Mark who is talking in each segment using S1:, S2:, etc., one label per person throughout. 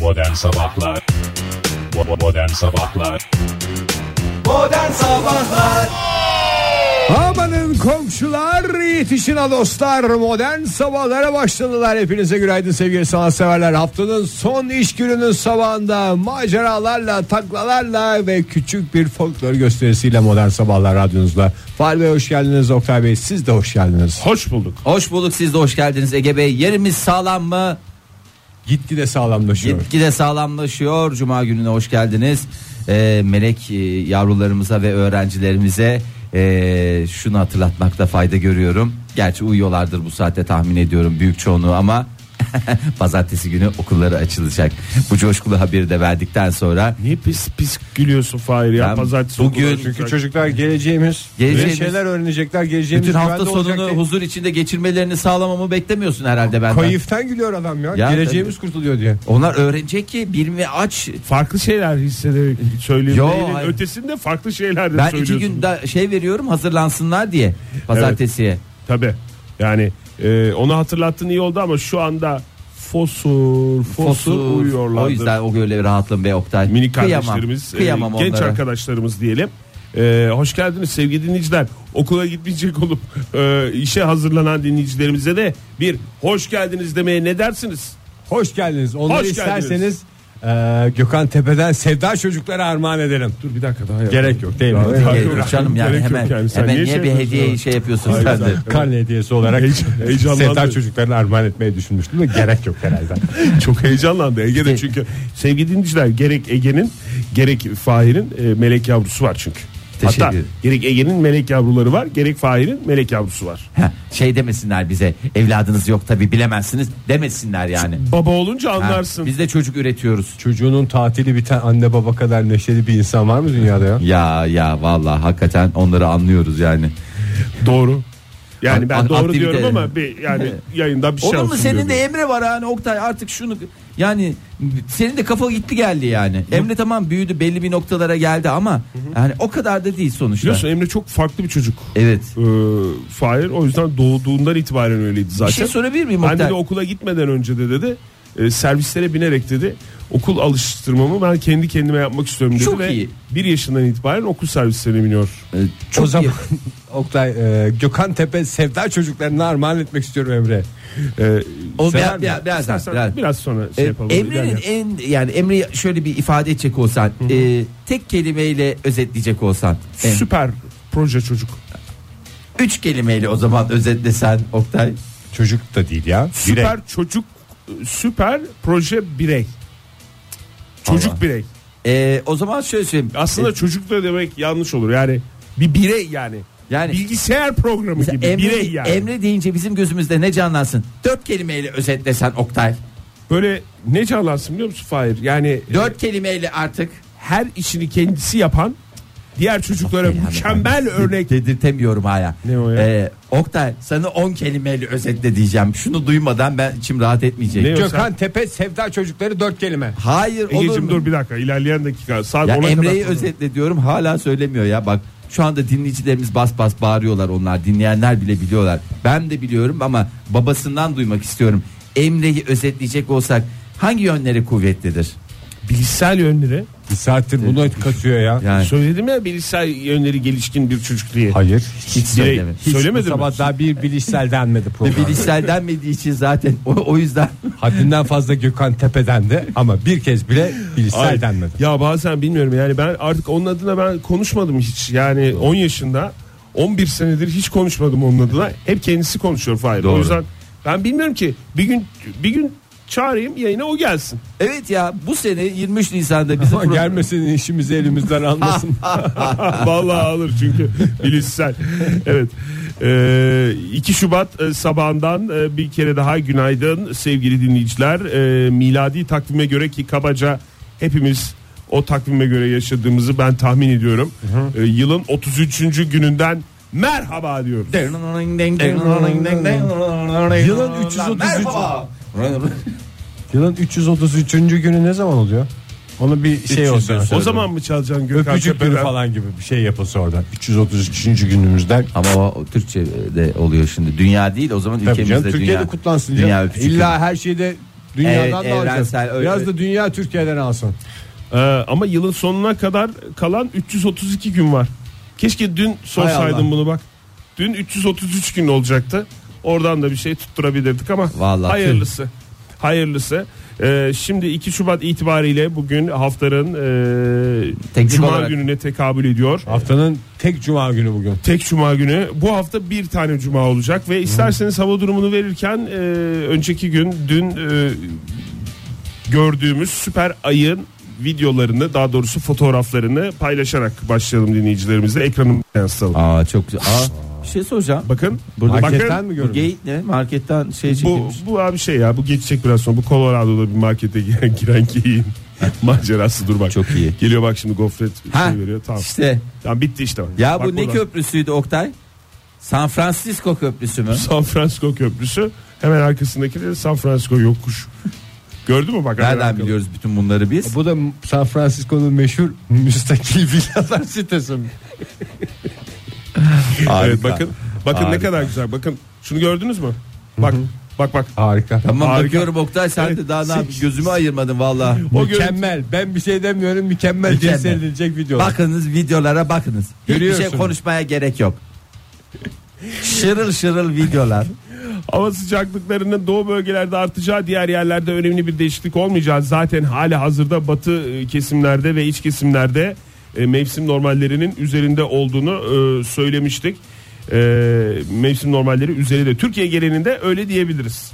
S1: Modern Sabahlar Bo- Modern Sabahlar
S2: Modern Sabahlar
S3: Amanın komşular yetişin ha dostlar modern sabahlara başladılar hepinize günaydın sevgili sanatseverler haftanın son iş gününün sabahında maceralarla taklalarla ve küçük bir folklor gösterisiyle modern sabahlar radyonuzda Fahri Bey hoş geldiniz Oktay Bey siz de hoş geldiniz
S1: Hoş bulduk
S4: Hoş bulduk siz de hoş geldiniz Ege Bey. Yerimiz sağlam mı?
S3: gitgide sağlamlaşıyor
S4: Gitgide sağlamlaşıyor. Cuma gününe hoş geldiniz. Ee, melek e, yavrularımıza ve öğrencilerimize e, şunu hatırlatmakta fayda görüyorum. Gerçi uyuyorlardır bu saatte tahmin ediyorum büyük çoğunluğu ama pazartesi günü okulları açılacak. Bu coşkulu haberi de verdikten sonra
S1: Niye pis pis gülüyorsun Fahir ya
S4: Ben
S1: Pazartesi
S4: bugün-
S1: okula
S3: çünkü
S1: çıkacak.
S3: çocuklar geleceğimiz,
S4: Geleceğimiz-
S3: bir şeyler öğrenecekler geleceğimiz
S4: bütün hafta
S3: güvende olacak
S4: sonunu
S3: diye-
S4: huzur içinde geçirmelerini sağlamamı beklemiyorsun herhalde benden.
S3: Kayıftan gülüyor adam ya,
S4: Ya,
S3: geleceğimiz kurtuluyor diye
S4: Onlar öğrenecek ki bir mi aç
S1: Farklı şeyler hissederek söylediğinin
S4: Yo, hayır.
S1: ötesinde farklı şeyler de
S4: Ben iki
S1: söylüyorsun
S4: gün da şey veriyorum hazırlansınlar diye pazartesiye.
S1: Tabi yani e, onu hatırlattın iyi oldu ama şu anda fosur fosur,
S4: Fosur.
S1: uyuyorlardır
S4: O yüzden o göle rahatlım be Oktay.
S1: Mini
S4: Kıyamam.
S1: kardeşlerimiz, e,
S4: Kıyamam
S1: genç
S4: onlara.
S1: arkadaşlarımız diyelim. E, hoş geldiniz sevgili dinleyiciler. Okula gitmeyecek olup e, işe hazırlanan dinleyicilerimize de bir hoş geldiniz demeye ne dersiniz?
S3: Hoş geldiniz. Onları
S1: Hoş
S3: isterseniz
S1: geldiniz.
S3: eee, Gökhan Tepe'den Sevda çocuklara armağan edelim.
S1: Dur bir dakika daha
S3: Gerek yok değil mi?
S1: Daha- daha-
S4: Gerek yok canım yani
S1: Gerek yok
S4: hemen
S1: yani. Sen
S4: hemen
S1: niye
S4: niye,
S1: şey
S4: bir
S1: yapıyorsun
S4: hediye
S1: ya?
S4: şey yapıyorsun
S1: Hayır,
S4: sen de?
S1: zaten.
S3: Karne hediyesi olarak
S1: heyecanlandı.
S3: Sevda çocuklarına armağan etmeyi düşünmüştüm de gerek yok herhalde.
S1: Çok heyecanlandı Ege'de çünkü sevgili dinleyiciler gerek Ege'nin gerek Fahir'in e, melek yavrusu var çünkü.
S4: Teşekkür
S1: Hatta
S4: ederim.
S1: gerek Ege'nin melek yavruları var gerek Fahir'in melek yavrusu var.
S4: Heh, şey demesinler bize evladınız yok tabi bilemezsiniz demesinler yani.
S1: Baba olunca
S4: Ha,
S1: anlarsın.
S4: biz de çocuk üretiyoruz.
S3: Çocuğunun tatili biten anne baba kadar neşeli bir insan var mı dünyada ya?
S4: Ya ya vallahi hakikaten onları anlıyoruz yani.
S1: Doğru. Yani ben
S4: Ak-
S1: doğru
S4: aktivite-
S1: diyorum ama bir yani yayında bir şey
S4: Onun mu
S1: olsun
S4: senin
S1: diyorum.
S4: de Emre var yani Oktay artık şunu yani senin de kafa gitti geldi yani. Emre tamam büyüdü belli bir noktalara geldi ama yani o kadar da değil sonuçta.
S1: Biliyorsun Emre çok farklı bir çocuk.
S4: Evet.
S1: Ee, Fahir o yüzden doğduğundan itibaren öyleydi zaten.
S4: Bir şey sorabilir miyim
S1: Anne
S4: Oktay?
S1: de okula gitmeden önce de dedi e, servislere binerek dedi okul alıştırmamı ben kendi kendime yapmak istiyorum dedi
S4: Çok
S1: ve
S4: iyi.
S1: bir yaşından itibaren okul servislerine biniyor.
S4: Ee, çok
S3: o zaman
S4: iyi.
S3: Oktay eee, Gökhan Tepe Sevda çocuklarına armağan etmek istiyorum Emre. E,
S1: Ee,
S4: O
S3: Sever
S4: biraz,
S3: mi?
S4: biraz, biraz,
S1: istersen
S4: biraz.
S1: biraz sonra şey
S4: Ee,
S1: yapalım.
S4: Emre'nin
S1: ilerleyelim.
S4: en yani Emre'yi şöyle bir ifade edecek olsan, e, tek kelimeyle özetleyecek olsan, Em-
S1: süper proje çocuk.
S4: üç kelimeyle o zaman özetlesen Oktay.
S3: Çocuk da değil ya.
S1: Süper çocuk süper proje birey. Çocuk
S4: Allah.
S1: birey.
S4: E, o zaman şöyle söyleyeyim.
S1: Aslında
S4: E,
S1: çocuk da demek yanlış olur. Yani bir birey yani.
S4: yani
S1: Bilgisayar programı
S4: mesela
S1: gibi
S4: Emre,
S1: birey yani.
S4: Emre deyince bizim gözümüzde ne canlansın? Dört kelimeyle özetlesen Oktay.
S1: Böyle ne canlansın biliyor musun Fahir? Yani e,
S4: Dört kelimeyle artık
S1: her işini kendisi yapan diğer çocuklara
S4: Helal
S1: mükemmel
S4: olsun.
S1: örnek.
S4: dedirtemiyorum hala.
S1: Ne o ya?
S4: E, Oktay sana on kelimeyle özetle diyeceğim. Şunu duymadan ben içim rahat etmeyecek.
S1: Ne o?
S3: Gökhan Tepe Sevda çocukları dört kelime.
S4: Hayır olur
S1: Egeciğim
S4: mu?
S1: dur bir dakika ilerleyen dakika saat
S4: Ya
S1: 10'a kadar
S4: Emre'yi
S1: sonra.
S4: özetle diyorum hala söylemiyor ya bak şu anda dinleyicilerimiz bas bas bağırıyorlar onlar dinleyenler bile biliyorlar. Ben de biliyorum ama babasından duymak istiyorum. Emre'yi özetleyecek olsak hangi yönleri kuvvetlidir?
S1: bilişsel yönleri.
S3: Bir saattir bunu katıyor ya.
S4: Yani
S1: Söyledim ya bilişsel yönleri gelişkin bir çocuk diye.
S3: Hayır.
S4: hiç
S1: Birey.
S4: söylemedim.
S3: Hiç
S1: Söylemedi
S3: bu
S1: mi?
S3: sabah daha bir bilişsel denmedi
S4: Bir
S3: program.
S4: bilişsel denmediği için zaten o, o yüzden
S3: Haddinden fazla Gökhan Tepe'den de ama bir kez bile
S1: Ay,
S3: bilişsel denmedi.
S1: Ya bazen bilmiyorum yani ben artık onun adına ben konuşmadım hiç. Yani 10 yaşında 11 senedir hiç konuşmadım onun adına. Hep kendisi konuşuyor Fahir. O
S4: Doğru.
S1: yüzden ben bilmiyorum ki bir gün bir gün çağırayım yayına o gelsin.
S4: evet ya bu sene 23 Nisan'da bizim
S3: Ama gelmesin işimizi elimizden almasın.
S1: Vallahi alır çünkü bilişsel. Evet. Ee, 2 Şubat e, sabahından e, bir kere daha günaydın sevgili dinleyiciler. Ee, miladi takvime göre ki kabaca hepimiz o takvime göre yaşadığımızı ben tahmin ediyorum. Ee, yılın 33. gününden merhaba diyoruz.
S4: Yılın
S3: 333. Yılın 333. günü ne zaman oluyor? Onu bir şey olsun.
S1: O zaman mı çalacaksın Gökhan
S3: öpücük günü
S1: Tepe'den?
S3: falan gibi bir şey yapılsa orada. 333. günümüzden.
S4: Ama o, o Türkçe'de oluyor şimdi. Dünya değil o zaman
S3: Tabii
S4: ülkemizde
S3: canım,
S4: dünya.
S3: Türkiye'de kutlansın.
S4: Dünya
S3: canım.
S4: öpücük
S3: İlla her şeyde
S4: Evet,
S3: Dünyadan da alacağız.
S4: evrensel öyle-
S3: Biraz da dünya Türkiye'den alsın.
S1: Ee, ama yılın sonuna kadar kalan 332 gün var. Keşke dün
S3: Hay Allah.
S1: sorsaydım bunu bak. Dün 333 gün olacaktı. Oradan da bir şey tutturabilirdik ama
S4: Vallahi
S1: hayırlısı. Hayırlısı. Ee, şimdi 2 Şubat itibariyle bugün haftanın e,
S4: Teknik
S1: Cuma
S4: olarak-
S1: gününe tekabül ediyor.
S3: Haftanın tek cuma günü bugün.
S1: Tek Cuma günü. Bu hafta bir tane Cuma olacak ve isterseniz hava durumunu verirken e, önceki gün dün e, gördüğümüz süper ayın videolarını daha doğrusu fotoğraflarını paylaşarak başlayalım dinleyicilerimizle. Ekranımı yansıtalım.
S4: Aa çok güzel. Aa, bir şey soracağım.
S1: Bakın.
S4: Burada
S3: Marketten
S1: bakın.
S3: mi
S4: Bu
S3: görünüyor?
S4: geyik ne? Marketten şey
S1: Bu,
S4: çekilmiş.
S1: bu abi şey ya bu geçecek biraz sonra bu Colorado'da bir markete giren, giren geyiğin macerası dur bak.
S4: Çok iyi.
S1: Geliyor bak şimdi gofret
S4: Ha,
S1: şey veriyor tamam.
S4: İşte
S1: Tamam bitti işte. bak.
S4: ya bu
S1: Bak
S4: ne
S1: buradan.
S4: köprüsüydü Oktay? San Francisco köprüsü mü?
S1: San Francisco köprüsü hemen arkasındaki de San Francisco yokuş. Gördün mü bak? hemen
S4: Nereden
S1: arkada.
S4: biliyoruz bütün bunları biz?
S3: Bu da San Francisco'nun meşhur müstakil villalar sitesi mi?
S1: Evet
S4: Harika.
S1: bakın. Bakın ne
S4: Harika.
S1: kadar güzel. Bakın şunu gördünüz mü? Bak bak bak.
S3: Harika. şey-
S4: Tamam
S1: Harika.
S4: bakıyorum Oktay sen de daha ne yapayım gözümü ayırmadın valla.
S1: O görüntü-
S3: mükemmel. Ben bir şey demiyorum.
S4: Mükemmel.
S3: Mükemmel, mükemmel. seyredilecek video.
S4: Bakınız videolara bakınız. Hiçbir şey
S3: Görüyorsunuz.
S4: konuşmaya gerek yok. Şırıl şırıl videolar.
S1: hava sıcaklıklarının doğu bölgelerde artacağı diğer yerlerde önemli bir değişiklik olmayacağı zaten hali hazırda batı e, kesimlerde ve iç kesimlerde e, mevsim normallerinin üzerinde olduğunu e, söylemiştik. E, mevsim normalleri üzerinde. Türkiye genelinde öyle diyebiliriz.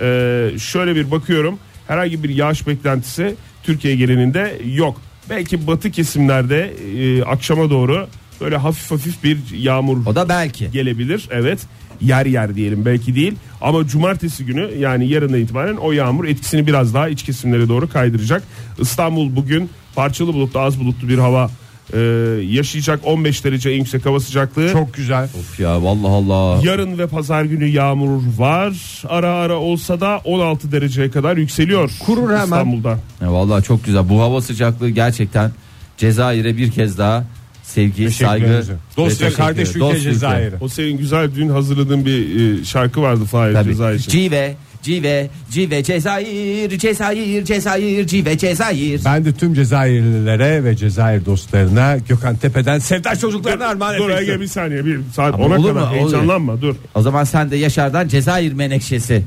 S1: E, şöyle bir bakıyorum herhangi bir yağış beklentisi Türkiye genelinde yok. Belki batı kesimlerde e, akşama doğru böyle hafif hafif bir yağmur
S4: O da belki.
S1: gelebilir. Evet yer yer diyelim belki değil ama cumartesi günü yani yarından itibaren o yağmur etkisini biraz daha iç kesimlere doğru kaydıracak. İstanbul bugün parçalı bulutlu az bulutlu bir hava e, yaşayacak 15 derece en yüksek hava sıcaklığı.
S3: Çok güzel.
S4: Of ya vallahi Allah.
S1: Yarın ve pazar günü yağmur var. Ara ara olsa da 16 dereceye kadar yükseliyor.
S3: Kurur hemen.
S1: İstanbul'da.
S4: Ya vallahi çok güzel. Bu hava sıcaklığı gerçekten Cezayir'e bir kez daha sevgi, saygı.
S3: Teşekkürlerimizi. Dost ve
S4: teşekkür
S3: kardeş
S4: ederim.
S3: ülke
S4: Dost
S3: Cezayir.
S1: O senin güzel dün hazırladığın bir e, şarkı vardı Fahir Ceza
S4: Tabii.
S1: için.
S4: Cive, Cive, Cive Cezayir, Cezayir, Cezayir, Cive Cezayir.
S3: Ben de tüm Cezayirlilere ve Cezayir dostlarına Gökhan Tepe'den Sevda çocuklarına armağan etmek
S1: Dur Ege
S3: istiyorum.
S1: bir saniye bir saat
S4: Ama
S1: ona
S4: olur
S1: kadar
S4: mu? Olur.
S1: heyecanlanma dur.
S4: O zaman sen de Yaşar'dan Cezayir menekşesi.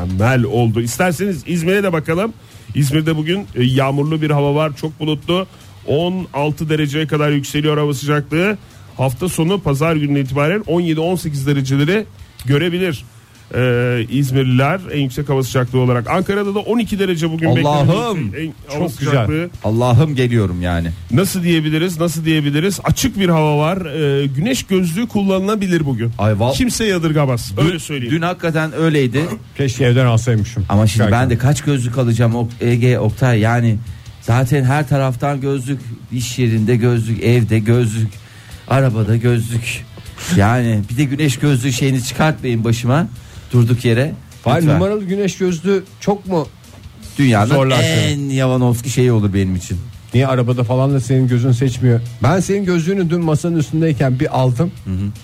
S1: mükemmel oldu. İsterseniz İzmir'e de bakalım. İzmir'de bugün e, yağmurlu bir hava var. Çok bulutlu. 16 dereceye kadar yükseliyor hava sıcaklığı. Hafta sonu pazar gününe itibaren 17-18 dereceleri görebilir. Ee, İzmirliler en yüksek hava sıcaklığı olarak. Ankara'da da 12 derece bugün bekleniyor.
S4: Allah'ım!
S1: En- hava
S3: Çok güzel.
S1: sıcaklığı.
S4: Allah'ım geliyorum yani.
S1: Nasıl diyebiliriz? Nasıl diyebiliriz? Açık bir hava var. Ee, güneş gözlüğü kullanılabilir bugün.
S4: Ay val-
S1: Kimse yadırgamaz. Öyle söyleyeyim.
S4: Dün hakikaten öyleydi.
S3: Keşke evden alsaymışım.
S4: Ama şimdi
S3: Şarkı.
S4: ben de kaç gözlük alacağım Ok- Ege Oktay yani zaten her taraftan gözlük iş yerinde gözlük evde gözlük arabada gözlük yani bir de güneş gözlüğü şeyini çıkartmayın başıma durduk yere.
S3: Vay,
S4: Lütfen.
S3: numaralı güneş gözlü çok mu?
S4: Dünyanın
S3: Zorlarsın.
S4: en Yavanovski şeyi olur benim için.
S3: Niye arabada falan da senin gözün seçmiyor? Ben senin gözlüğünü dün masanın üstündeyken bir aldım.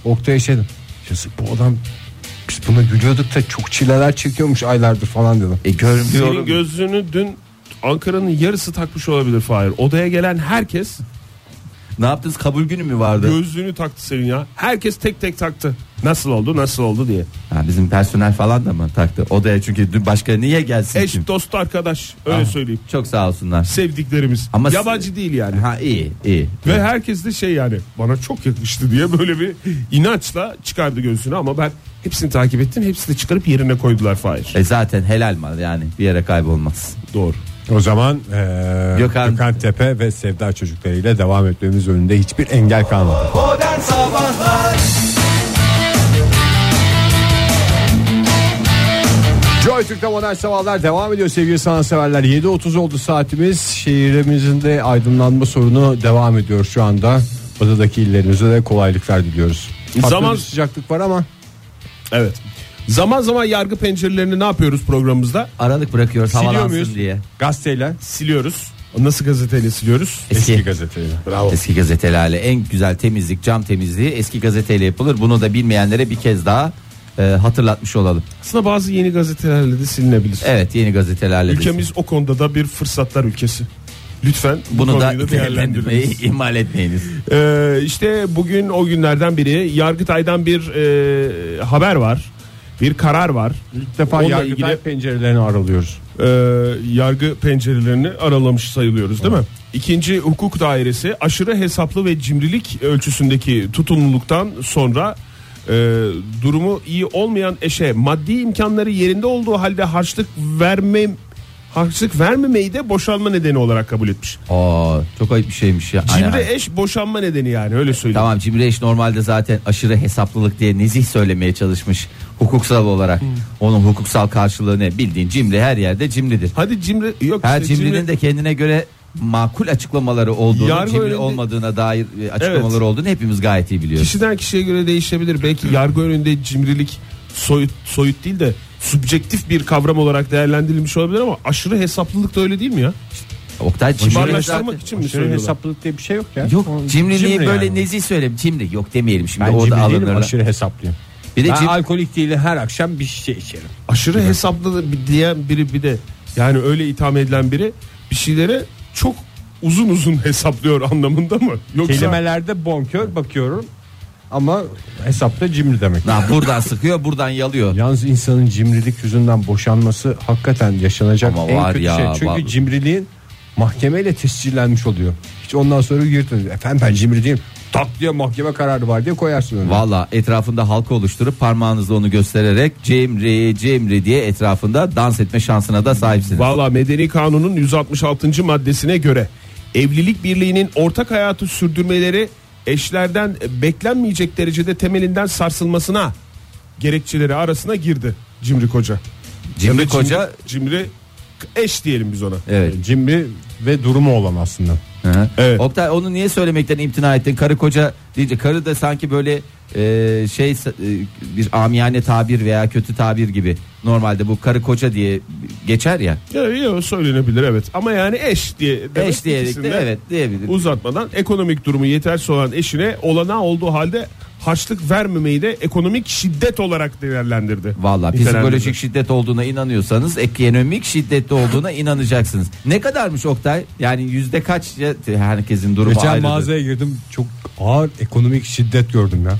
S3: Oktay'a şey dedim. Yazık bu adam biz buna gülüyorduk da çok çileler çekiyormuş aylardır falan dedim.
S4: E
S1: Senin
S4: görmüyorum.
S1: gözlüğünü dün Ankara'nın yarısı takmış olabilir Fahir. Odaya gelen herkes
S4: ne yaptınız kabul günü mü vardı?
S1: gözlüğünü taktı senin ya. Herkes tek tek taktı. Nasıl oldu nasıl oldu diye.
S4: Ha, bizim personel falan da mı taktı odaya çünkü dün başka niye gelsin
S1: Eş
S4: kim?
S1: dost arkadaş öyle
S4: Ah,
S1: söyleyeyim.
S4: Çok sağ olsunlar.
S1: Sevdiklerimiz.
S4: Ama
S1: Yabancı değil yani.
S4: Ha iyi iyi.
S1: Ve herkes de şey yani bana çok yakıştı diye böyle bir inançla çıkardı gözlüğünü ama ben hepsini takip ettim. Hepsini çıkarıp yerine koydular Fahir.
S4: E zaten helal mal yani bir yere kaybolmaz.
S1: Doğru.
S3: O zaman eee
S4: Gökhan-
S3: Gökhan. Tepe ve Sevda çocuklarıyla devam etmemiz önünde hiçbir engel kalmadı.
S2: Modern Sabahlar
S3: Joy Türk'te modern sabahlar devam ediyor sevgili sanatseverler. 7.30 oldu saatimiz. Şehrimizin de aydınlanma sorunu devam ediyor şu anda. Batıdaki illerimize de kolaylıklar diliyoruz. Farklı
S1: Zaman-
S3: bir sıcaklık var ama
S1: Evet. Zaman zaman yargı pencerelerini ne yapıyoruz programımızda?
S4: Aralık bırakıyoruz
S3: Siliyor
S4: havalansın
S3: muyuz?
S4: diye.
S3: gazeteyle
S1: Siliyoruz. Nasıl gazeteyle siliyoruz?
S4: Eski.
S3: eski gazeteyle.
S1: Bravo.
S4: Eski gazetelerle en güzel temizlik cam temizliği eski gazeteyle yapılır. Bunu da bilmeyenlere bir kez daha e, hatırlatmış olalım.
S1: Aslında bazı yeni gazetelerle de silinebilir.
S4: Evet yeni gazetelerle de-
S1: Ülkemiz o konuda da bir fırsatlar ülkesi. Lütfen bu
S4: bunu da
S1: konuyu değerlendiriniz.
S4: değerlendirmeyi ihmal etmeyiniz.
S1: Ee, işte bugün o günlerden biri Yargıtay'dan bir e, haber var. Bir karar var.
S3: İlk defa
S1: Onunla
S3: Yargıtay
S1: ilgili-
S3: pencerelerini aralıyoruz.
S1: Ee, yargı pencerelerini aralamış sayılıyoruz değil mi? İkinci hukuk dairesi aşırı hesaplı ve cimrilik ölçüsündeki tutumluluktan sonra e, durumu iyi olmayan eşe maddi imkanları yerinde olduğu halde harçlık verme harçlık vermemeyi de boşanma nedeni olarak kabul etmiş.
S4: Aa, çok ayıp bir şeymiş ya. Aynen.
S1: Cimri e- eş boşanma nedeni yani öyle söyleyeyim.
S4: Tamam Cimri Eş normalde zaten aşırı hesaplılık diye nezih söylemeye çalışmış hukuksal olarak. Onun hukuksal karşılığı ne? Bildiğin Cimri her yerde Cimri'dir.
S1: Hadi cimri yok
S4: Her
S1: işte
S4: Cimri'nin de kendine göre makul açıklamaları olduğunu,
S1: Yargı
S4: Cimri
S1: önünde-
S4: olmadığına dair e, açıklamaları
S1: Evet.
S4: olduğunu hepimiz gayet iyi biliyoruz.
S1: Kişiden kişiye göre değişebilir. Belki yargı önünde cimrilik soyut soyut değil de subjektif bir kavram olarak değerlendirilmiş olabilir ama aşırı hesaplılık da öyle değil mi ya?
S4: Oktay Cimri
S1: Kibarlaştırmak
S4: zaten...
S1: için mi
S3: Şöyle
S1: söylüyorlar?
S3: hesaplılık diye bir şey yok ya.
S4: Yok
S3: O-
S4: cimriliği
S3: cimri
S4: böyle
S3: yani.
S4: nezih söyleyeyim. Cimri yok demeyelim şimdi
S3: Ben
S4: orada
S3: cimri değilim,
S4: alınırlar.
S3: aşırı hesaplıyım.
S4: Bir de
S3: Ben
S4: cim-
S3: alkolik değilim her akşam bir şişe içerim.
S1: Aşırı hesaplı bir- diyen biri bir de yani öyle itham edilen biri bir şeylere çok uzun uzun hesaplıyor anlamında mı? Yoksa
S3: Kelimelerde bonkör bakıyorum ama hesapta cimri demek.
S4: Lan buradan sıkıyor buradan yalıyor.
S3: Yalnız insanın cimrilik yüzünden boşanması hakikaten yaşanacak
S4: Ama
S3: en
S4: var
S3: kötü
S4: ya,
S3: şey. Çünkü
S4: var.
S3: cimriliğin mahkemeyle tescillenmiş oluyor. Hiç ondan sonra yırtılıyor. Efendim ben cimri değilim. Tak diye mahkeme kararı var diye koyarsın önüne.
S4: Valla etrafında halka oluşturup parmağınızla onu göstererek Cemri Cemri diye etrafında dans etme şansına da sahipsiniz.
S1: Valla medeni kanunun 166. maddesine göre evlilik birliğinin ortak hayatı sürdürmeleri eşlerden beklenmeyecek derecede temelinden sarsılmasına gerekçeleri arasına girdi Cimri Koca. Ya da
S4: Cimri koca
S1: Cimri eş diyelim biz ona.
S4: evet.
S3: Cimri ve durumu olan aslında.
S4: Hı.
S1: Evet.
S4: Oktay onu niye söylemekten imtina ettin? Karı koca deyince karı da sanki böyle e, şey e, bir amiyane tabir veya kötü tabir gibi. Normalde bu karı koca diye geçer ya.
S1: Ya, ya, söylenebilir evet ama yani eş diye demek
S4: Eş diyerek
S1: ikisini
S4: de
S1: de
S4: evet diyebilir.
S1: uzatmadan ekonomik durumu yetersiz olan eşine olanağı olduğu halde harçlık vermemeyi de ekonomik şiddet olarak değerlendirdi.
S4: Valla
S1: Nitelendirdi.
S4: psikolojik şiddet olduğuna inanıyorsanız ekonomik şiddette olduğuna inanacaksınız. Ne kadarmış Oktay? Yani yüzde kaç ya- herkesin durumu
S3: Geçen
S4: ayrıdır.
S3: mağazaya girdim çok ağır ekonomik şiddet gördüm ya.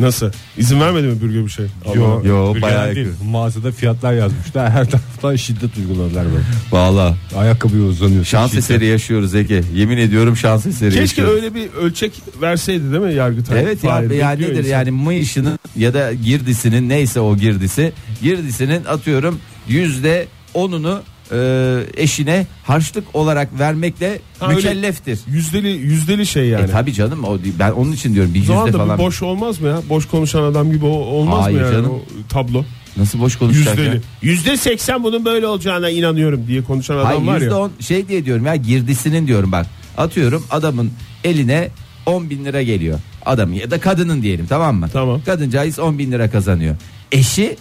S1: Nasıl? İzin vermedi mi bürge bir şey?
S3: Yo,
S4: yo,
S3: bir
S4: bayağı
S3: genel değil. Mağazada fiyatlar yazmışlar. Her taraftan şiddet uyguladılar böyle.
S4: Valla
S3: Ayakkabıya uzanıyorsun.
S4: şans
S3: şiddet.
S4: eseri yaşıyoruz Ege. Yemin ediyorum şans eseri
S1: Keşke
S4: yaşıyoruz.
S1: öyle bir ölçek verseydi değil mi Yargıtay?
S4: Evet ya,
S1: Hayır,
S4: ya
S1: bekliyor
S4: nedir
S1: insan.
S4: yani mayışının ya da girdisinin neyse o girdisi girdisinin atıyorum yüzde onunu e, eşine harçlık olarak vermekle
S1: Ha, öyle-
S4: mükelleftir.
S1: Yüzdeli, yüzdeli şey yani.
S4: E tabi canım o, ben onun için diyorum bir
S1: o
S4: yüzde
S1: zaman da
S4: falan.
S1: bir boş olmaz mı ya? Boş konuşan adam gibi o- olmaz
S4: Hayır
S1: mı yani
S4: canım.
S1: o tablo?
S4: Nasıl boş konuşacak ya?
S1: Yüzdeli. Yüzde seksen bunun böyle olacağına inanıyorum diye konuşan adam
S4: Hayır
S1: var
S4: yüzde
S1: ya.
S4: on şey diye diyorum ya girdisinin diyorum bak. Atıyorum adamın eline 10 bin lira geliyor. Adamın ya da kadının diyelim tamam mı?
S1: Tamam.
S4: Kadıncağız 10 bin lira kazanıyor. Eşi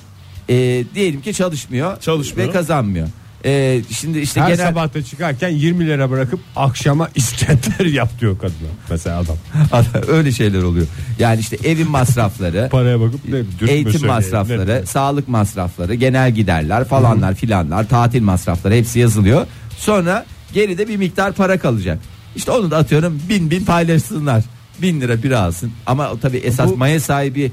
S4: e, diyelim ki çalışmıyor.
S1: Çalışmıyor.
S4: Ve kazanmıyor. E, şimdi işte
S3: Her
S4: genel...
S3: sabah da çıkarken 20 lira bırakıp akşama iskender yap diyor kadına. Mesela adam
S4: öyle şeyler oluyor. Yani işte evin masrafları.
S3: paraya bakıp ne dürtme
S4: eğitim
S3: söyleyeyim,
S4: masrafları,
S3: ne-
S4: sağlık masrafları, genel giderler falanlar filanlar, tatil masrafları hepsi yazılıyor. Sonra geride bir miktar para kalacak. İşte onu da atıyorum bin bin paylaşsınlar. Bin lira biri alsın. Ama tabii esas maya sahibi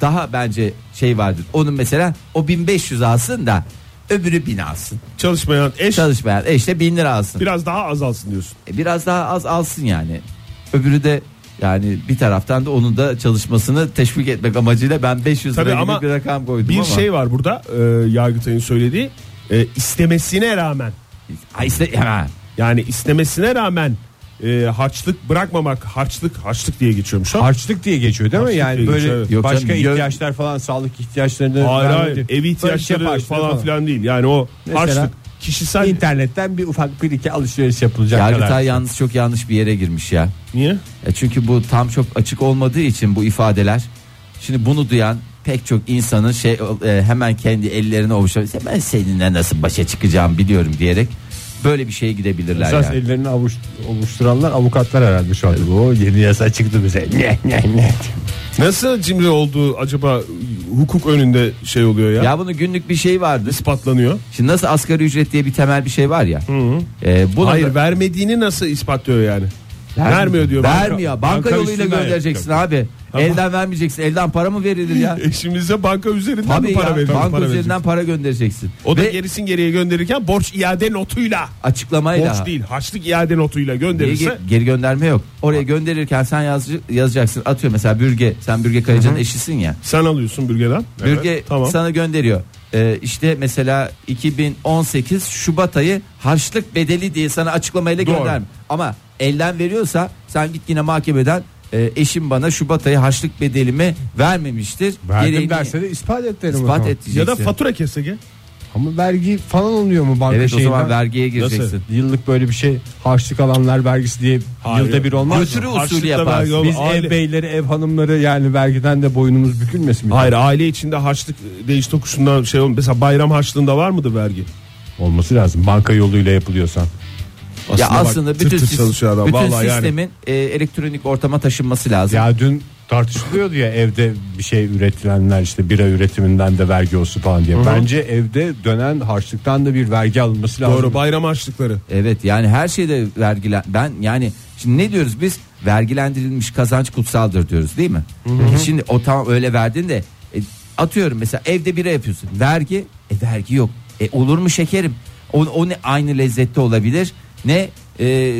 S4: daha bence şey vardır. Onun mesela o 1500 alsın da öbürü bin alsın.
S1: Çalışmayan eş
S4: Çalışmayan işte bin lira alsın.
S1: biraz daha azalsın diyorsun.
S4: E, Biraz daha az alsın yani. Öbürü de yani bir taraftan da onun da çalışmasını teşvik etmek amacıyla ben 500
S1: Tabii
S4: lira gibi
S1: ama
S4: bir rakam koydum
S1: Bir
S4: ama.
S1: şey var burada e, Yargıtay'ın söylediği e, istemesine rağmen
S4: Ha işte hemen.
S1: yani istemesine rağmen e, harçlık bırakmamak harçlık harçlık diye geçiyormuş. o.
S3: Harçlık diye geçiyor değil mi?
S1: Harçlık
S3: Yani
S1: diye
S3: böyle
S1: geçiyor, evet.
S4: Yok
S3: başka
S4: canım, gö-
S3: ihtiyaçlar falan sağlık ihtiyaçlarını
S1: Hayır
S3: vermedi.
S1: hayır ev
S3: Böyle
S1: ihtiyaçları
S3: şey
S1: falan,
S3: harçlığı
S1: filan değil. Yani o
S3: Mesela
S1: harçlık kişisel
S3: İnternetten bir ufak bir iki alışveriş yapılacak kadar.
S4: Yargıtay yalnız çok yanlış bir yere girmiş ya.
S1: niye?
S4: E çünkü bu tam çok açık olmadığı için bu ifadeler. Şimdi bunu duyan pek çok insanın şey e, hemen kendi ellerine ovuşabilir. Ben seninle nasıl başa çıkacağım biliyorum diyerek böyle bir şeye gidebilirler
S3: Esas
S4: yani.
S3: ellerini avuç, avuşturanlar avukatlar herhalde şu anda. O yeni yasa çıktı bize. Ne ne ne.
S1: Nasıl cimri olduğu acaba hukuk önünde şey oluyor ya.
S4: Ya bunun günlük bir şey vardı.
S1: ispatlanıyor.
S4: Şimdi nasıl asgari ücret diye bir temel bir şey var ya. E, bunu
S1: Hayır vermediğini nasıl ispatlıyor yani? vermiyor diyor. Banka-
S4: Vermiyor. Banka, yoluyla
S1: üstünden
S4: göndereceksin
S1: yapacak.
S4: abi. Elden vermeyeceksin. Elden para mı verilir ya?
S1: Eşimize banka üzerinden
S4: Tabii
S1: mi para
S4: para ya.
S1: veriyor?
S4: Banka
S1: Para
S4: üzerinden
S1: verecek.
S4: para göndereceksin.
S1: O da
S4: Ve
S1: gerisin geriye gönderirken borç iade notuyla.
S4: açıklamayla.
S1: Borç değil harçlık iade notuyla
S4: Niye
S1: gönderirse.
S4: ge- geri gönderme yok. Oraya gönderirken sen yaz, yazacaksın. Atıyor mesela Bürge. Sen Bürge Kayacı'nın eşisin ya.
S1: Sen alıyorsun bürgeden.
S4: Bürge
S1: Evet, tamam.
S4: sana gönderiyor. Ee, işte mesela 2018 Şubat ayı harçlık bedeli diye sana açıklamayla
S1: Doğru.
S4: gönder. Ama elden veriyorsa sen git yine mahkemeden e, eşim bana Şubat ayı harçlık bedelimi vermemiştir.
S3: Verdim
S4: Gereğini
S3: derse de ispat et derim. o
S4: ispat
S3: zaman.
S4: et diyeceksin.
S1: Ya da fatura kesege.
S3: Ama vergi falan oluyor mu banka
S4: Evet o
S3: şeyinden?
S4: zaman vergiye gireceksin.
S3: Yıllık böyle bir şey harçlık alanlar vergisi diye
S1: Hayır.
S3: yılda bir olmaz mı?
S4: Götürü
S1: Harçlıkla
S4: usulü
S1: vergi
S4: yaparsın.
S1: olmaz.
S3: Biz
S1: Aile-
S3: ev beyleri ev hanımları yani vergiden de boynumuz bükülmesin. mi?
S1: Hayır aile içinde harçlık değiş tokuşundan şey olmuyor. Mesela bayram harçlığında var mıdır vergi?
S3: Olması lazım banka yoluyla yapılıyorsan.
S4: ya
S1: bak,
S4: aslında
S1: tır
S4: bütün,
S1: tır
S4: sis-
S1: çalışıyor adam.
S4: bütün
S1: Vallahi yani.
S4: sistemin e, elektronik ortama taşınması lazım.
S3: Ya dün tartışılıyordu ya evde bir şey üretilenler işte bira üretiminden de vergi olsun falan diye. Bence evde dönen harçlıktan da bir vergi alınması lazım.
S1: Doğru bayram harçlıkları.
S4: Evet yani her şeyde vergilen ben yani şimdi ne diyoruz biz vergilendirilmiş kazanç kutsaldır diyoruz değil mi? Şimdi o tam öyle verdin de e, atıyorum mesela evde bira yapıyorsun vergi e, vergi yok e, olur mu şekerim o, o ne aynı lezzette olabilir ne e,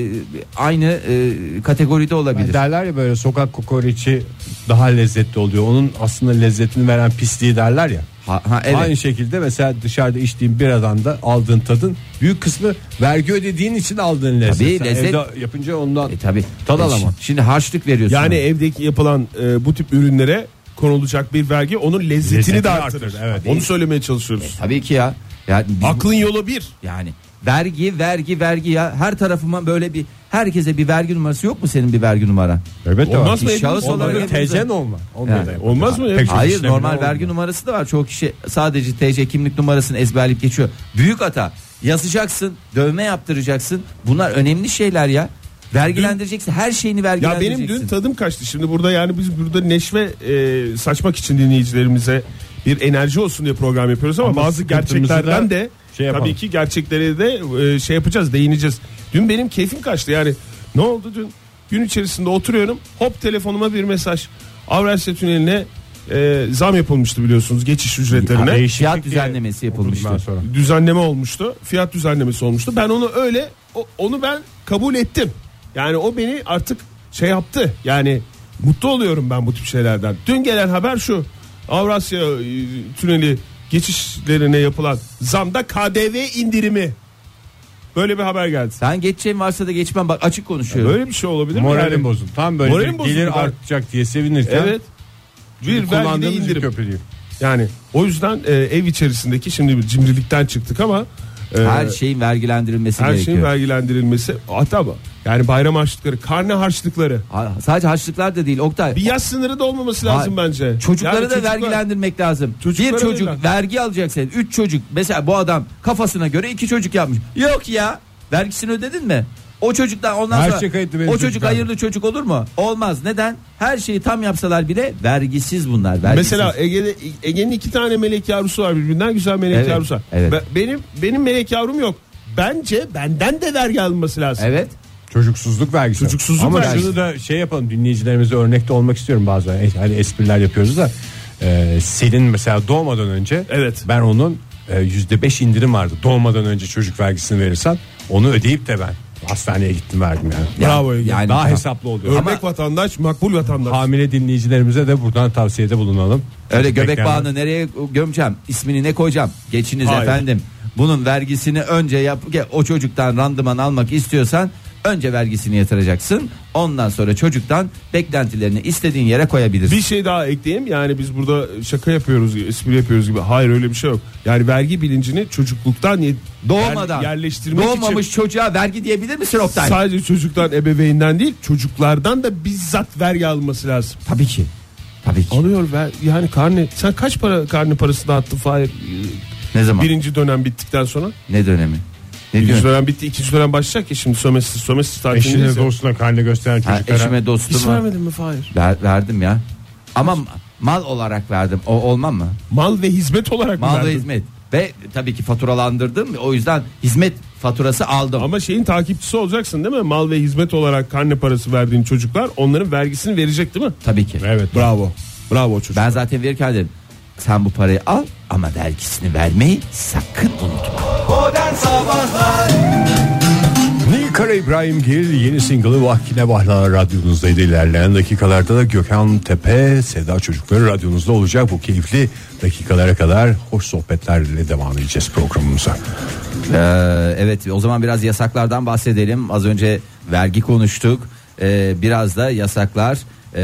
S4: aynı e, kategoride
S3: Yani
S4: olabilir.
S3: derler ya böyle sokak kokoreçi daha lezzetli oluyor. Onun aslında lezzetini veren pisliği derler ya.
S4: Ha, ha, evet.
S3: Aynı şey. şekilde mesela dışarıda içtiğin biradan da aldığın tadın büyük kısmı vergi ödediğin için aldığın lezzet.
S4: Tabii,
S3: Sen
S4: lezzet-
S3: Evde yapınca ondan
S4: E tabi.
S3: Tad alamam.
S4: Şimdi harçlık veriyorsun.
S1: Yani
S4: Ama.
S1: evdeki yapılan e, bu tip ürünlere konulacak bir vergi onun lezzetini,
S3: Lezzetini
S1: de artırır.
S3: artırır, evet.
S1: Onu söylemeye çalışıyoruz.
S4: Tabii ki ya. Yani biz-
S1: Aklın yolu bir.
S4: yani vergi vergi vergi ya her tarafıma böyle bir herkese bir vergi numarası yok mu senin bir vergi numaran?
S3: Evet de
S1: Olmaz
S3: var.
S1: mı?
S4: Bir şahıs
S1: Olmaz.
S4: olarak
S3: Onların
S4: hepimize-
S3: TC'n olma. Onu da
S4: Yani.
S3: yapıyorlar.
S1: Olmaz mı ya?
S3: Pek çok
S4: Hayır
S3: işlemleri
S4: normal
S3: olmuyor.
S4: vergi numarası da var. Çoğu kişi sadece TC kimlik numarasını ezberleyip geçiyor. Büyük hata. Yazacaksın, dövme yaptıracaksın. Bunlar önemli şeyler ya. Vergilendireceksin. Her şeyini
S1: Ya
S4: vergilendireceksin.
S1: benim dün tadım kaçtı. Şimdi burada yani biz burada neşve e, saçmak için dinleyicilerimize bir enerji olsun diye program yapıyoruz ama,
S3: Ama
S1: bazı
S3: sıkıntımızı
S1: gerçeklerden
S3: da
S1: de
S3: şey yapalım.
S1: tabii ki gerçekleri de e, şey yapacağız, değineceğiz. Dün benim keyfim kaçtı. Yani ne oldu dün? Gün içerisinde oturuyorum. Hop telefonuma bir mesaj. Avrasya Tüneli'ne e, zam yapılmıştı biliyorsunuz geçiş ücretlerine.
S4: Fiyat
S3: Ya, Değişiklik
S4: düzenlemesi
S3: diye okudum
S4: yapılmıştı.
S3: ben sonra.
S1: düzenleme olmuştu. Fiyat düzenlemesi olmuştu. Ben onu öyle o- onu ben kabul ettim. Yani o beni artık şey yaptı. Yani mutlu oluyorum ben bu tip şeylerden. Dün gelen haber şu. Avrasya e, tüneli geçişlerine yapılan zamda KDV indirimi. Böyle bir haber geldi.
S4: Sen geçeceğin varsa da geçmem. Bak açık konuşuyorum.
S1: Böyle bir şey olabilir mi?
S3: Moralim
S1: Yani
S3: bozuldu. Tam böyle
S1: Moralim
S3: bir gelir
S1: bozuldu.
S3: artacak diye sevinirken
S1: Evet. Bir vergide
S3: kullandığımız bir
S1: indirim.
S3: köprüyü.
S1: Yani o yüzden e, ev içerisindeki şimdi bir cimrilikten çıktık ama e,
S4: her şeyin vergilendirilmesi
S1: Her
S4: gerekiyor.
S1: şeyin vergilendirilmesi hatta bu. Yani bayram harçlıkları, karne harçlıkları.
S4: Ha- Sadece harçlıklar da değil Oktay.
S1: Bir yaş sınırı da olmaması lazım
S4: Hayır.
S1: bence.
S4: Çocukları
S1: Yani
S4: da
S1: çocuklar-
S4: vergilendirmek lazım.
S1: Çocuklara
S4: bir çocuk
S1: vergi-
S4: vergi alacak senin. Üç çocuk. Mesela bu adam kafasına göre iki çocuk yapmış. Yok ya. Vergisini ödedin mi? O çocuktan ondan
S3: Her
S4: sonra
S3: şey kayıtlı benim
S4: o çocuk
S3: çocuklarım.
S4: hayırlı çocuk olur mu? Olmaz. Neden? Her şeyi tam yapsalar bile vergisiz bunlar. Vergisiz.
S1: Mesela Ege'de Ege'nin iki tane melek yavrusu var birbirinden güzel melek
S4: Evet,
S1: yavrusu var.
S4: evet.
S1: Be- Benim benim melek yavrum yok. Bence benden de vergi alınması lazım.
S4: evet.
S3: Çocuksuzluk vergisi.
S1: Çocuksuzluk
S3: Ama
S1: vergisi.
S3: şunu da şey yapalım dinleyicilerimize örnekte olmak istiyorum bazen. E, Hani espriler yapıyoruz da e, Selin mesela doğmadan önce
S1: Evet.
S3: ben onun e, yüzde beş indirim vardı. Doğmadan önce çocuk vergisini verirsen onu ödeyip de ben hastaneye gittim verdim yani.
S4: Yani-
S1: Bravo Ege.
S4: yani-
S3: Daha
S4: tamam.
S3: hesaplı oluyor.
S1: Örnek
S3: Ama
S1: vatandaş, makbul vatandaş.
S3: hamile dinleyicilerimize de buradan tavsiyede bulunalım.
S4: Öyle göbek
S3: Bekleyenler-
S4: bağını nereye gömeceğim? İsmini ne koyacağım? Geçiniz
S1: Hayır.
S4: efendim. Bunun vergisini önce yap o çocuktan randıman almak istiyorsan önce vergisini yatıracaksın. Ondan sonra çocuktan beklentilerini istediğin yere koyabilirsin.
S1: Bir şey daha ekleyeyim. Yani biz burada şaka yapıyoruz, espri yapıyoruz gibi. Hayır öyle bir şey yok. Yani vergi bilincini çocukluktan ye-
S4: Doğmadan
S1: şey yer- yerleştirmek için
S4: doğmamış çocuğa vergi diyebilir misin Oktay?
S1: sadece çocuktan ebeveyinden değil çocuklardan da bizzat vergi alınması lazım.
S4: Tabii ki. Tabii ki.
S1: Alıyor ver yani karne sen kaç para karne parası dağıttın Fahir?
S4: Ne zaman?
S1: Birinci dönem bittikten sonra.
S4: Ne dönemi? Ne
S1: Birinci
S4: diyorsun?
S1: dönem bitti ikinci dönem başlayacak ya şimdi sömestr sömestr
S3: Eşine
S1: tatilindeyiz ya.
S3: dostuna karnını gösteren
S4: Ha,
S3: çocuklara.
S4: eşime
S1: Hiç
S4: dostuma
S1: vermedin mi Fahir?
S4: ver, verdim ya. Ama Mal olarak verdim. O olmam mı?
S1: Mal ve hizmet olarak mı
S4: Mal ve
S1: verdin?
S4: hizmet. Ve tabii ki faturalandırdım. O yüzden hizmet faturası aldım.
S1: Ama şeyin takipçisi olacaksın değil mi? Mal ve hizmet olarak karne parası verdiğin çocuklar onların vergisini verecek değil mi?
S4: Tabii ki.
S1: Evet bravo. Bravo çocuk.
S4: Ben zaten verirken dedim. Sen bu parayı al ama vergisini vermeyi sakın unutma.
S2: Modern Sabahlar
S3: Nilkara İbrahimgil yeni single'ı Vahkine Vahla radyonuzdaydı. İlerleyen dakikalarda da Gökhan Tepe Sevda Çocukları radyonuzda olacak. Bu keyifli dakikalara kadar hoş sohbetlerle devam edeceğiz programımıza.
S4: Ee, evet o zaman biraz yasaklardan bahsedelim. Az önce vergi konuştuk. Ee, biraz da yasaklar e,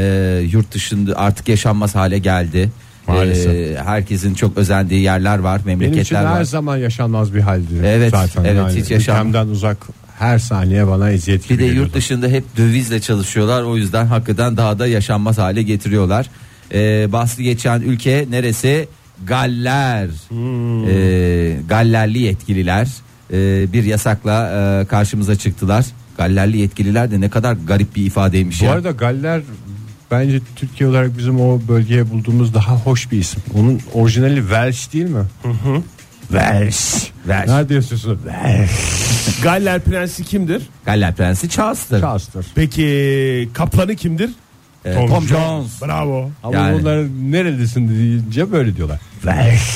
S4: yurt dışında artık yaşanmaz hale geldi.
S3: Maalesef.
S4: Ee, herkesin çok özendiği yerler var,
S3: Benim için
S4: memleketler
S3: her
S4: var.
S3: zaman yaşanmaz bir haldi.
S4: Evet,
S3: Zaten
S4: evet,
S3: yani
S4: hiç yaşan-
S3: ülkemden uzak her saniye bana eziyet gibi
S4: Bir de
S3: geliyordu.
S4: yurt dışında hep dövizle çalışıyorlar. O yüzden hakikaten daha da yaşanmaz hale getiriyorlar. Ee, bahsi geçen ülke neresi? Galler.
S3: Hmm.
S4: Ee, Gallerli yetkililer ee, bir yasakla e, karşımıza çıktılar. Gallerli yetkililer de ne kadar garip bir ifadeymiş
S3: Bu
S4: ya.
S3: arada Galler bence Türkiye olarak bizim o bölgeye bulduğumuz daha hoş bir isim. Onun orijinali Welsh değil mi? Welsh.
S4: Welsh.
S3: Nerede yaşıyorsun? Welsh.
S1: Galler prensi kimdir?
S4: Galler prensi Charles'tır.
S3: Kastır.
S1: Peki kaplanı kimdir?
S4: Ee, Tom, Jones.
S1: Bravo.
S3: Ama
S4: Yani.
S3: bunlar nerelisin deyince böyle diyorlar. Welsh.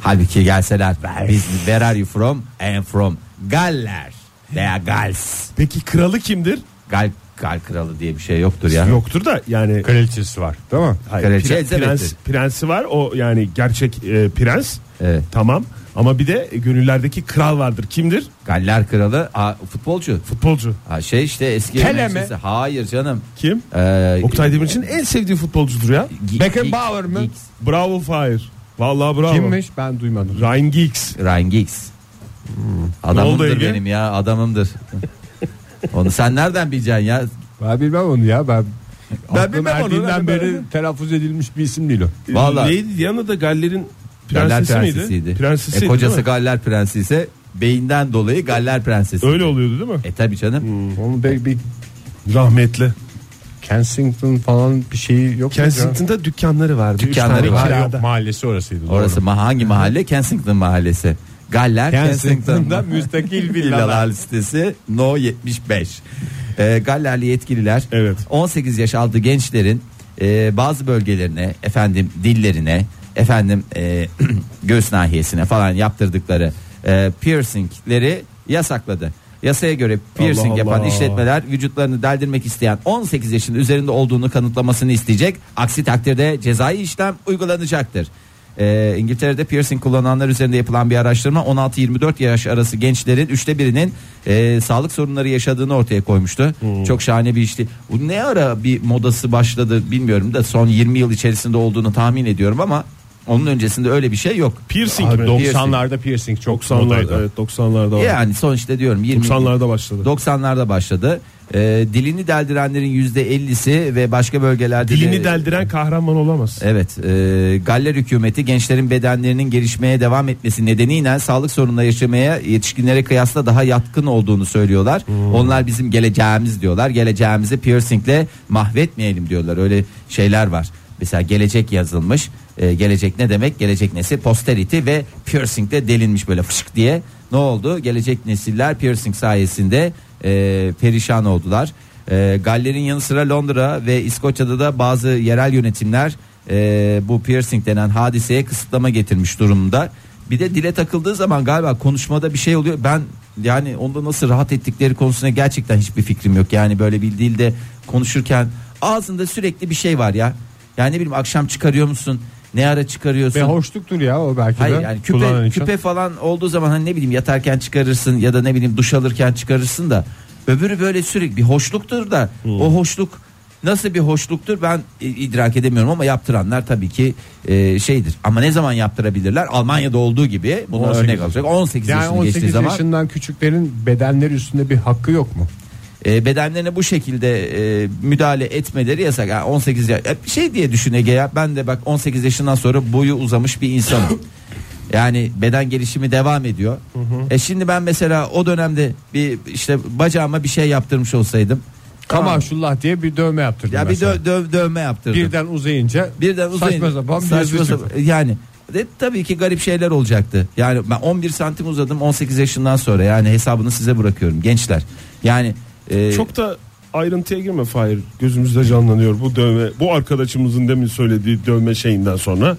S4: Halbuki gelseler biz where are you from? I am from Galler. Veya Gals.
S1: Peki kralı kimdir?
S4: Gal, Gal kralı diye bir şey yoktur ya.
S1: Yoktur da yani
S3: Kraliçesi var değil mi?
S1: Hayır,
S4: Kraliçe
S1: pre-
S4: Elizabeth'tir.
S1: prens, prensi var o yani gerçek e, prens.
S4: Evet.
S1: Tamam. Ama bir de gönüllerdeki kral vardır. Kimdir?
S4: Galler kralı a, futbolcu.
S1: Futbolcu.
S4: Ha, şey işte eski
S3: Pele mi?
S4: Manchester- Hayır canım.
S1: Kim?
S4: Ee,
S1: Oktay Demirci'nin en sevdiği futbolcudur ya.
S4: Gi-
S3: Beckenbauer mı?
S4: Giggs.
S1: Bravo Fahir. Vallahi bravo.
S3: Kimmiş ben duymadım.
S1: Ryan Giggs.
S4: Ryan Giggs.
S1: Hmm. oldu
S4: Adamımdır
S1: Ege?
S4: benim ya adamımdır. Onu sen nereden bileceksin ya?
S3: Ben bilmem onu ya ben. Ben
S1: bilmem onu, ben
S3: Erdiğinden beri
S1: bilmem.
S3: telaffuz edilmiş bir isim değil o.
S4: Vallahi.
S1: Neydi Diana da Galler'in
S4: Galler
S1: prensesi miydi?
S4: prensesiydi.
S1: Prensesiydi.
S4: E, kocası
S1: değil
S4: Galler prensi ise beyinden dolayı Galler prensesi.
S1: mi? Öyle Hmm, oluyordu değil mi?
S4: E tabi canım.
S3: Onun bir, bir
S1: Rahmetli.
S3: Kensington falan bir şeyi yok. mu ya?
S1: Kensington'da dükkanları vardı. Üç
S4: Dükkanları
S1: tane
S4: var.
S3: Ha,
S1: kirada.
S3: yok, mahallesi orasıydı. doğru.
S4: Orası ma- hangi mahalle? Kensington mahallesi. Galler
S3: Kensington'da
S4: Kensington'da
S3: müstakil
S4: villalar
S3: villalar.
S4: listesi No 75. Ee, Gallerli yetkililer
S1: Evet.
S4: 18 yaş altı gençlerin e, bazı bölgelerine efendim dillerine efendim e, göğüs nahiyesine falan yaptırdıkları e, piercingleri yasakladı. Yasaya göre piercing
S1: Allah
S4: yapan
S1: Allah.
S4: işletmeler vücutlarını deldirmek isteyen 18 yaşın üzerinde olduğunu kanıtlamasını isteyecek. Aksi takdirde cezai işlem uygulanacaktır. E, İngiltere'de piercing kullananlar üzerinde yapılan bir araştırma 16-24 yaş arası gençlerin üçte birinin e, sağlık sorunları yaşadığını ortaya koymuştu.
S1: Hmm.
S4: Çok şahane bir işti. Bu ne ara bir modası başladı bilmiyorum da son 20 yıl içerisinde olduğunu tahmin ediyorum ama onun öncesinde öyle bir şey yok.
S1: Piercing
S3: Abi,
S1: mi?
S3: 90'larda piercing çok
S1: 90'larda.
S3: modaydı.
S1: Evet 90'larda var.
S4: Yani sonuçta diyorum 20
S1: 90'larda başladı.
S4: 90'larda başladı. Ee, dilini deldirenlerin %50'si ve başka bölgelerde
S1: Dilini
S4: de- e,
S1: deldiren kahraman olamaz.
S4: Evet, e, Galler hükümeti gençlerin bedenlerinin gelişmeye devam etmesi nedeniyle sağlık sorunları yaşamaya yetişkinlere kıyasla daha yatkın olduğunu söylüyorlar. Onlar bizim geleceğimiz diyorlar. Geleceğimizi piercingle mahvetmeyelim diyorlar. Öyle şeyler var. Mesela gelecek yazılmış. E, gelecek ne demek? Gelecek nesil posterity ve piercingle delinmiş böyle fışk diye. Ne oldu? Gelecek nesiller piercing sayesinde e, perişan oldular. E, Galler'in yanı sıra Londra ve İskoçya'da da bazı yerel yönetimler e, bu piercing denen hadiseye kısıtlama getirmiş durumda. Bir de dile takıldığı zaman galiba konuşmada bir şey oluyor. Ben yani onda nasıl rahat ettikleri konusunda gerçekten hiçbir fikrim yok. Yani böyle bir dilde konuşurken ağzında sürekli bir şey var ya. Yani ne bileyim akşam çıkarıyor musun? Ne ara çıkarıyorsun?
S3: Ve hoşluktur ya o belki
S4: Hayır
S3: de.
S4: yani
S3: kullanan
S4: küpe,
S3: için.
S4: küpe falan olduğu zaman hani ne bileyim yatarken çıkarırsın ya da ne bileyim duş alırken çıkarırsın da öbürü böyle sürekli bir hoşluktur da
S3: Hmm.
S4: o hoşluk nasıl bir hoşluktur ben i- idrak edemiyorum ama yaptıranlar tabii ki e, şeydir. Ama ne zaman yaptırabilirler? Almanya'da olduğu gibi bunu
S3: 18
S4: örnek alacak 18
S3: yani
S4: yaşını
S3: 18
S4: geçtiği zaman
S3: yaşından küçüklerin bedenleri üstünde bir hakkı yok mu?
S4: e, bedenlerine bu şekilde e, müdahale etmeleri yasak. Yani 18 yaş e, şey diye düşün Ege ya ben de bak 18 yaşından sonra boyu uzamış bir insanım. Yani beden gelişimi devam ediyor. E şimdi ben mesela o dönemde bir işte bacağıma bir şey yaptırmış olsaydım
S3: Kamaşullah diye bir dövme yaptırdım.
S4: Ya bir
S3: mesela.
S4: dö- dö- dövme yaptırdım.
S3: birden uzayınca
S4: Birden uzayın.
S3: saçma sapan bir
S4: Saçma
S3: yazı
S4: sapan- Yani de, tabii ki garip şeyler olacaktı. Yani ben 11 santim uzadım 18 yaşından sonra. Yani hesabını size bırakıyorum gençler. Yani e,
S1: Çok da ayrıntıya girme Fahir. Gözümüzde canlanıyor bu dövme. Bu arkadaşımızın demin söylediği dövme şeyinden sonra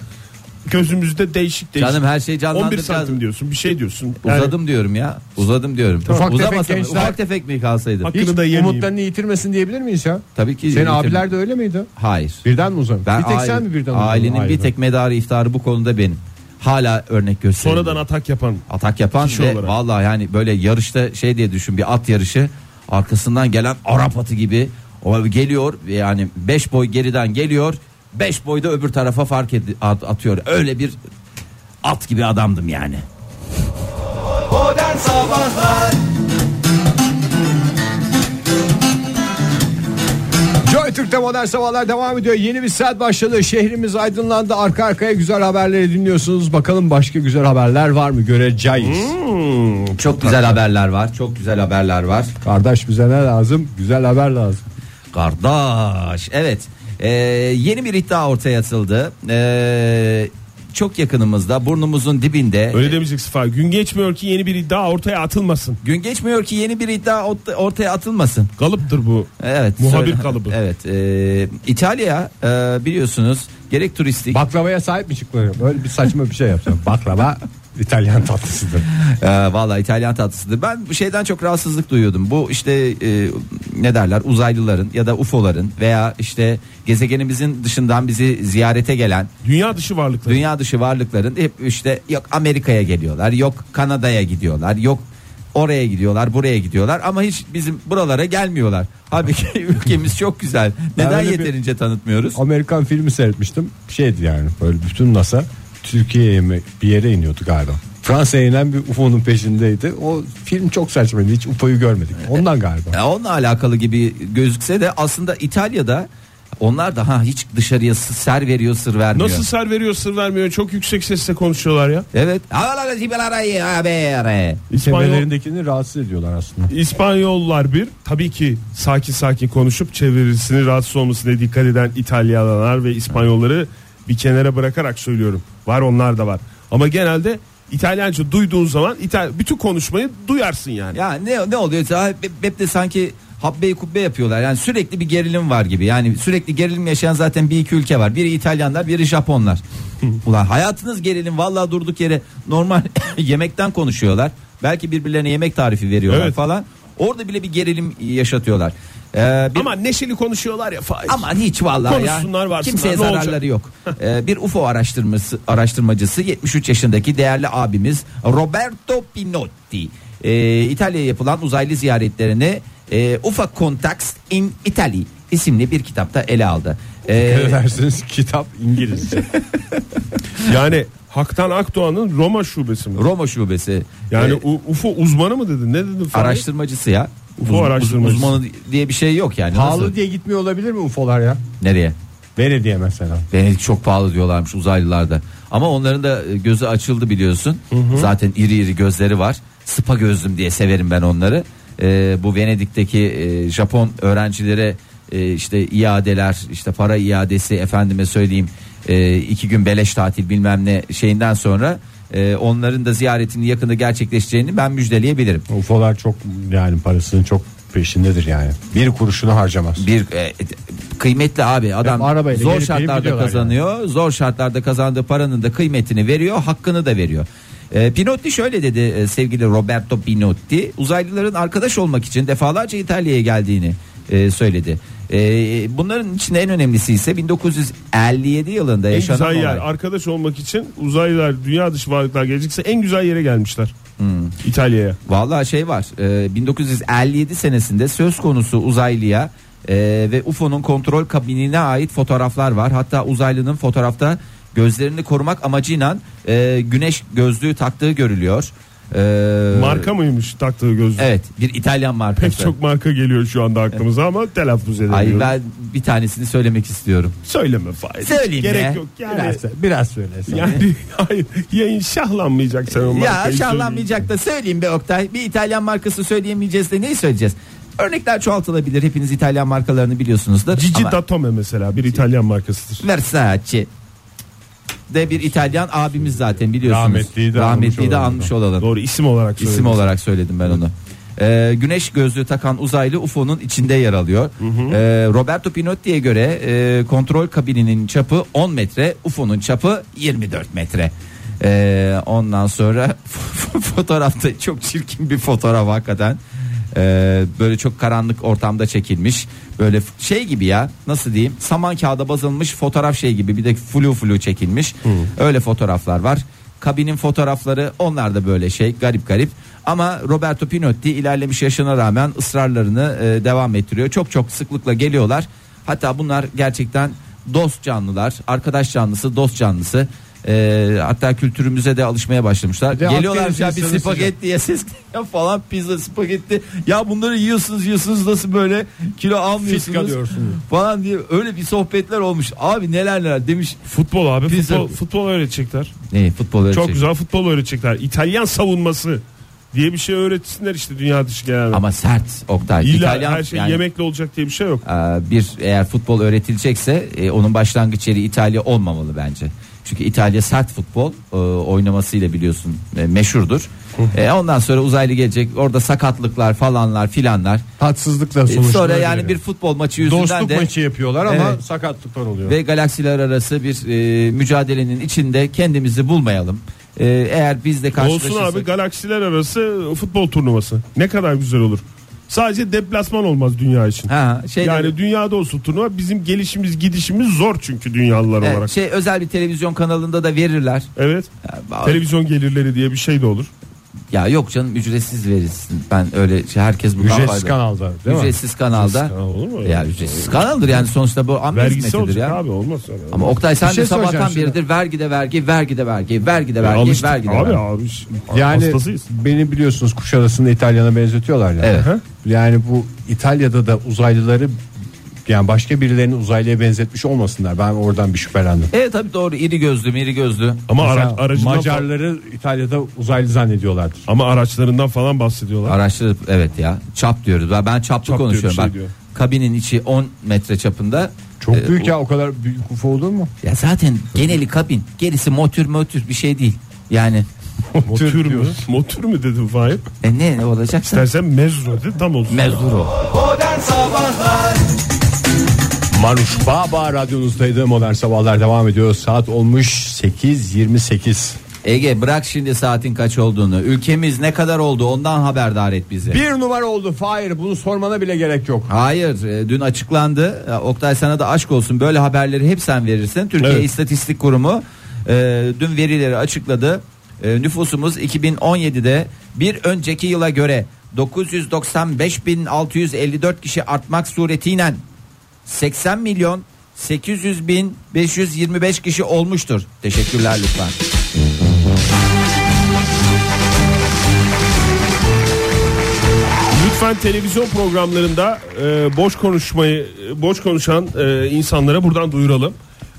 S1: gözümüzde değişik değişik.
S4: canım her şey
S1: 11
S4: canlandıracağız.
S1: santim diyorsun bir şey diyorsun. Yani
S4: Uzadım diyorum ya. Uzadım diyorum.
S3: Ufak tefek
S4: Uzamasam-
S3: gençler-
S4: ufak tefek mi kalsaydı?
S1: Hakkı-
S3: Hiç
S1: Hakkını da yemeyeyim.
S3: umutlarını yitirmesin diyebilir miyiz ya?
S4: Tabii ki.
S3: Senin abiler de öyle miydi?
S4: Hayır.
S3: Birden mi uzamış?
S4: Ben
S3: bir tek
S4: aile-
S3: sen mi birden uzadın?
S4: Ailenin
S3: Hayır,
S4: bir tek medarı iftarı bu konuda benim. Hala örnek gösteriyorum.
S1: sonradan atak yapan.
S4: atak yapan
S1: Kişi
S4: ve
S1: olarak.
S4: vallahi yani böyle yarışta şey diye düşün bir at yarışı arkasından gelen Arap atı gibi o geliyor ve yani 5 boy geriden geliyor 5 boyda öbür tarafa fark edi- at- atıyor öyle bir at gibi adamdım yani.
S2: Modern Sabahlar
S3: Joy Türk'te modern sabahlar devam ediyor. Yeni bir saat başladı. Şehrimiz aydınlandı. Arka arkaya güzel haberleri dinliyorsunuz. Bakalım başka güzel haberler var mı? Göreceğiz.
S4: Çok güzel haberler var. Çok güzel haberler var.
S3: Kardeş bize ne lazım? Güzel haber lazım.
S4: Kardeş evet Ee, yeni bir iddia ortaya atıldı. Ee, çok yakınımızda burnumuzun dibinde
S1: Öyle demeyeceksin Fahir. Gün geçmiyor ki yeni bir iddia ortaya atılmasın.
S4: gün geçmiyor ki yeni bir iddia ort- ortaya atılmasın.
S1: Kalıptır bu.
S4: Evet.
S1: Muhabir
S4: söyle-
S1: kalıbı.
S4: Evet. e, İtalya e, biliyorsunuz gerek turistik
S3: Baklavaya sahip mi çıkmıyor? Böyle bir saçma bir şey yapacağım. Baklava İtalyan tatlısıdır.
S4: e, valla İtalyan tatlısıdır. Ben bu şeyden çok rahatsızlık duyuyordum. Bu işte e, ne derler uzaylıların ya da UFO'ların veya işte gezegenimizin dışından bizi ziyarete gelen
S1: Dünya dışı varlıklar.
S4: dünya dışı varlıkların hep işte yok Amerika'ya geliyorlar, yok Kanada'ya gidiyorlar, yok oraya gidiyorlar, buraya gidiyorlar ama hiç bizim buralara gelmiyorlar. Halbuki ülkemiz çok güzel. Neden
S3: öyle bir-
S4: yeterince tanıtmıyoruz?
S3: Amerikan filmi seyretmiştim. Şeydi yani böyle bütün NASA Türkiye'ye mi bir yere iniyordu galiba. Fransa'ya inen bir UFO'nun peşindeydi. O film çok saçmaydı. Hiç UFO'yu görmedik. Ondan galiba.
S4: Ya onunla alakalı gibi gözükse de aslında İtalya'da onlar da ha hiç dışarıya s- ser veriyor sır vermiyor.
S1: Nasıl ser veriyor sır vermiyor çok yüksek sesle konuşuyorlar ya.
S4: Evet.
S1: İspanyol,
S3: Kemerlerindekini rahatsız ediyorlar aslında.
S1: İspanyollar bir tabii ki sakin sakin konuşup çevirisini rahatsız olmasına dikkat eden İtalyanlar ve İspanyolları bir kenara bırakarak söylüyorum. Var onlar da var. Ama genelde İtalyanca duyduğun zaman İtal bütün konuşmayı duyarsın yani.
S4: Ya ne ne oluyor? Ha, Hep, hep de sanki habbeyi kubbe yapıyorlar. Yani sürekli bir gerilim var gibi. Yani sürekli gerilim yaşayan zaten bir iki ülke var. Biri İtalyanlar, biri Japonlar. Ulan hayatınız gerilim vallahi durduk yere normal yemekten konuşuyorlar. Belki birbirlerine yemek tarifi veriyorlar
S1: Evet.
S4: falan. Orada bile bir gerilim yaşatıyorlar. Ee, bir-
S1: Ama neşeli konuşuyorlar ya Fahir.
S4: Aman hiç vallahi
S1: Konuşsunlar,
S4: ya.
S1: varsınlar,
S4: Kimseye
S1: ne olacak?
S4: zararları yok. Ee, bir UFO araştırması araştırmacısı 73 yaşındaki değerli abimiz Roberto Pinotti ee, İtalya'ya yapılan uzaylı ziyaretlerini e, UFO Contacts in Italy isimli bir kitapta ele aldı. Ee,
S3: Ne dersiniz? Kitap İngilizce.
S1: Yani Haktan Akdoğan'ın Roma şubesi mi?
S4: Roma şubesi
S1: Yani
S4: yani
S1: U- UFO uzmanı mı dedin? Ne dedin? Fahir?
S4: araştırmacısı ya.
S1: UFO
S4: Uz- uz-
S1: araştırmacısı.
S4: Uzmanı diye bir şey yok yani. Nasıl?
S3: Pahalı diye gitmiyor olabilir mi UFO'lar ya?
S4: Nereye?
S3: Belediye mesela.
S4: Venedik çok pahalı diyorlarmış uzaylılarda. Ama onların da e, gözü açıldı biliyorsun. Zaten iri iri gözleri var. Sıpa gözlüm diye severim ben onları. Ee, bu Venedik'teki e, Japon öğrencilere e, işte iadeler, işte para iadesi efendime söyleyeyim e, iki gün beleş tatil bilmem ne şeyinden sonra e, onların da ziyaretinin yakında gerçekleşeceğini ben müjdeleyebilirim.
S3: UFO'lar çok yani parasının çok peşindedir yani. Bir kuruşunu harcamaz.
S4: bir e, kıymetli abi adam
S3: Hep arabayla
S4: zor
S3: gelip gelip
S4: şartlarda
S3: gidiyorlar
S4: kazanıyor. Zor şartlarda kazandığı paranın da kıymetini veriyor, hakkını da veriyor. E, Pinotti şöyle dedi e, sevgili Roberto Pinotti uzaylıların arkadaş olmak için defalarca İtalya'ya geldiğini e, söyledi. E, bunların içinde en önemlisi ise 1957 yılında
S1: En
S4: yaşanan
S1: güzel yer.
S4: olay.
S1: Arkadaş olmak için uzaylılar, dünya dışı varlıklar gelecekse en güzel yere gelmişler.
S4: Hmm.
S1: İtalya'ya.
S4: Vallahi şey var. e, 1957 senesinde söz konusu uzaylıya e, ve UFO'nun kontrol kabinine ait fotoğraflar var. Hatta uzaylının fotoğrafta gözlerini korumak amacıyla e, güneş gözlüğü taktığı görülüyor. E,
S1: Marka mıymış taktığı gözlük?
S4: Evet, bir İtalyan markası.
S1: Pek çok marka geliyor şu anda aklımıza ama telaffuz
S4: Ay
S1: edemiyorum.
S4: ben bir tanesini söylemek istiyorum.
S1: Söyleme Fahir.
S4: Söyleyeyim
S1: Gerek
S4: be.
S1: yok. Yani,
S3: Biraz, biraz söylesen.
S1: yani hayır, yayın şahlanmayacak sen
S4: Ya
S1: o markayı
S4: şahlanmayacak da söyleyeyim be Oktay. Bir İtalyan markası söyleyemeyeceğiz de neyi söyleyeceğiz? Örnekler çoğaltılabilir. Hepiniz İtalyan markalarını biliyorsunuzdur.
S1: Cici
S4: Ama
S1: Datome mesela bir İtalyan markasıdır.
S4: Versace de bir İtalyan abimiz zaten biliyorsunuz.
S5: Rahmetliyi de
S4: Rahmetliyi de
S5: anmış
S4: anmış olalım.
S1: Doğru isim olarak söyledim.
S4: İsim olarak söyledim ben onu. Ee, güneş gözlüğü takan uzaylı UFO'nun içinde yer alıyor. Ee, Roberto Pinotti'ye göre e, kontrol kabininin çapı 10 metre, UFO'nun çapı 24 metre. Ee, ondan sonra fotoğrafta çok çirkin bir fotoğraf hakikaten. Ee, böyle çok karanlık ortamda çekilmiş. Böyle f- şey gibi ya nasıl diyeyim saman kağıda basılmış fotoğraf şey gibi bir de flu flu çekilmiş. Öyle fotoğraflar var. Kabinin fotoğrafları onlar da böyle şey garip garip. Ama Roberto Pinotti ilerlemiş yaşına rağmen ısrarlarını e, devam ettiriyor. Çok çok sıklıkla geliyorlar. Hatta bunlar gerçekten dost canlılar, arkadaş canlısı, dost canlısı. E, hatta kültürümüze de alışmaya başlamışlar.
S3: de
S4: Geliyorlar
S3: Akdeniz
S4: ya bir
S3: insanı
S4: spagettiye ses falan pizza spagetti. Ya bunları yiyorsunuz yiyorsunuz nasıl böyle kilo
S3: Fiska
S4: almıyorsunuz
S3: diyorsunuz.
S4: falan diye öyle bir sohbetler olmuş. Abi neler neler demiş.
S1: Futbol abi
S4: Pizza.
S1: futbol, futbol öğretecekler.
S4: Ne futbol şey.
S1: Çok
S4: öğretecek.
S1: güzel futbol öğretecekler. İtalyan savunması diye bir şey öğretsinler işte dünya dışı genelde.
S4: Ama sert Oktay.
S1: İlla
S4: İtalyan
S1: her şey
S4: yani-
S1: yemekle olacak diye bir şey yok.
S4: Ee, bir eğer futbol öğretilecekse e, onun başlangıç yeri İtalya olmamalı bence. Çünkü İtalya sert futbol e, oynamasıyla biliyorsun e, meşhurdur. E, ondan sonra uzaylı gelecek orada sakatlıklar falanlar filanlar.
S3: Tatsızlıkla
S4: E,
S3: sonuçlanıyor.
S4: sonra yani bir futbol maçı yüzünden
S3: dostluk
S4: de
S3: maçı yapıyorlar ama
S4: Evet.
S3: sakatlıklar oluyor.
S4: ve galaksiler arası bir e, mücadelenin içinde kendimizi bulmayalım. E, eğer biz de
S1: Olsun
S4: karşılaşırsak
S1: abi galaksiler arası futbol turnuvası. Ne kadar güzel olur. Sadece deplasman olmaz dünya için.
S4: ha, şey
S1: yani dünyada olsun turnuva bizim gelişimiz gidişimiz zor çünkü dünyalılar
S4: Evet,
S1: olarak.
S4: şey özel bir televizyon kanalında da verirler.
S1: Evet.
S4: Ya,
S1: Televizyon gelirleri diye bir şey de olur.
S4: Ya yok canım ücretsiz verilsin. Ben öyle şey, herkes bundan
S3: Ücretsiz
S4: faydalı.
S3: kanalda değil mi?
S4: ücretsiz kanalda.
S1: Kanal olur mu?
S4: Ya ücretsiz kanaldır yani sonuçta bu amir
S1: Vergisi
S4: hizmetidir
S1: olacak
S4: ya.
S1: abi olmaz. öyle.
S4: Ama Oktay sen
S3: Bir şey
S4: de sabahtan
S3: soracağım şimdi.
S4: beridir vergi de vergi, vergi de vergi, vergi de vergi,
S1: Alıştık
S4: vergi de
S1: abi
S4: vergi.
S1: abi. Yani,
S3: Yani
S1: hastasıyız.
S3: beni biliyorsunuz Kuşadası'nda İtalyan'a benzetiyorlar ya.
S4: Evet.
S3: Yani bu İtalya'da da uzaylıları yani başka birilerini uzaylıya benzetmiş olmasınlar. Ben oradan bir şüphelendim.
S4: Evet E, tabii doğru iri gözlü iri gözlü.
S1: Ama ara,
S3: Mesela
S1: aracından fa-
S3: Macarları İtalya'da uzaylı zannediyorlardır.
S1: ama araçlarından falan bahsediyorlar.
S4: Araştırıp evet ya çap diyoruz. Ben- Ben çaplı
S1: diyor,
S4: konuşuyorum
S1: bir şey
S4: bak.
S1: diyor.
S4: Kabinin içi 10 metre çapında.
S3: Çok
S4: Ee,
S3: büyük ya o kadar büyük UFO olur mu?
S4: Ya zaten geneli kabin gerisi motür motür bir şey değil. Yani
S1: Motor mu? Motor mu dedim Fahir?
S4: e, ne ne olacaksa
S1: İstersen mezro de tam olsun.
S4: mezdur o.
S2: Modern Sabahlar
S3: Manuş Baba radyonuzdaydı. Modern Sabahlar devam ediyor. Saat olmuş 8.28.
S4: Ege bırak şimdi saatin kaç olduğunu. Ülkemiz ne kadar oldu ondan haberdar et bizi.
S3: Bir numara oldu Fahir. Bunu sormana bile gerek yok.
S4: Hayır e, dün açıklandı. E, Oktay sana da aşk olsun böyle haberleri hep sen verirsin. Türkiye
S1: Evet.
S4: İstatistik Kurumu e, dün verileri açıkladı. E, nüfusumuz 2017'de bir önceki yıla göre 995.654 kişi artmak suretiyle 80 milyon 800 bin 525 kişi olmuştur. Teşekkürler lütfen.
S1: Lütfen televizyon programlarında e, boş konuşmayı e, boş konuşan e, insanlara buradan duyuralım.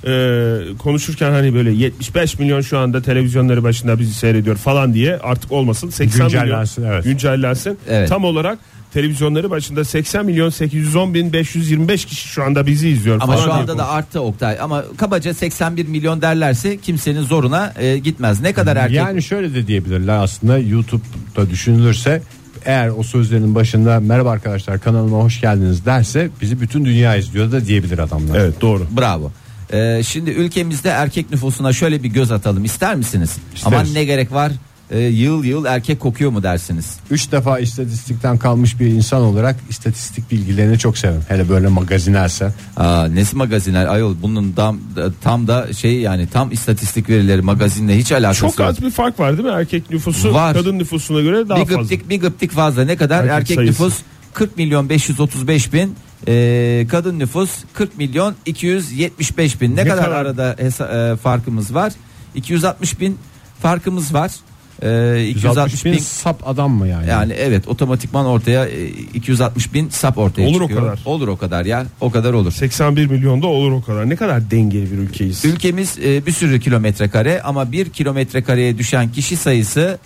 S1: E, konuşurken hani böyle 75 milyon şu anda televizyonları başında bizi seyrediyor falan diye artık olmasın 80
S3: Güncellensin,
S1: milyon
S3: evet.
S1: güncellensin.
S4: Evet.
S1: Tam olarak televizyonları başında 80 milyon 810 bin 525 kişi şu anda bizi izliyor
S4: Ama
S1: falan
S4: şu
S1: diye
S4: anda da arttı Oktay. Ama kabaca 81 milyon derlerse kimsenin zoruna e, gitmez. Ne kadar erkek
S3: Yani şöyle de diyebilirler aslında YouTube'da düşünülürse eğer o sözlerin başında merhaba arkadaşlar kanalıma hoş geldiniz derse bizi bütün dünya izliyor da diyebilir adamlar.
S1: Evet doğru.
S4: Bravo. Ee, şimdi ülkemizde erkek nüfusuna şöyle bir göz atalım ister misiniz? Aman ne gerek var? Ee, yıl yıl erkek kokuyor mu dersiniz?
S3: Üç defa istatistikten kalmış bir insan olarak istatistik bilgilerini çok severim. Hele böyle magazinerse.
S4: Aa, nesi magazinler ayol bunun tam, tam da şey yani tam istatistik verileri magazinle hiç alakası
S1: Çok
S4: yok.
S1: az bir fark var değil mi? Erkek nüfusu
S4: Var.
S1: kadın nüfusuna göre daha
S4: bir
S1: fazla.
S4: gıptik bir gıptik fazla ne kadar
S1: Erkek
S4: erkek,
S1: sayısı.
S4: nüfus 40 milyon 535 bin ee, kadın nüfus 40 milyon 275 bin ne,
S1: Ne
S4: kadar,
S1: kadar?
S4: arada hesa- e, farkımız var 260 bin farkımız var e,
S3: 160
S4: 260
S3: bin
S4: bin
S3: sap adam mı yani?
S4: yani evet otomatikman ortaya e, 260 bin sap ortaya
S1: Olur o
S4: çıkıyor.
S1: kadar.
S4: Olur o kadar ya o kadar olur.
S1: 81 milyonda olur o kadar. Ne kadar dengeli bir ülkeyiz.
S4: Ülkemiz e, bir sürü kilometre kare ama bir kilometre kareye düşen kişi sayısı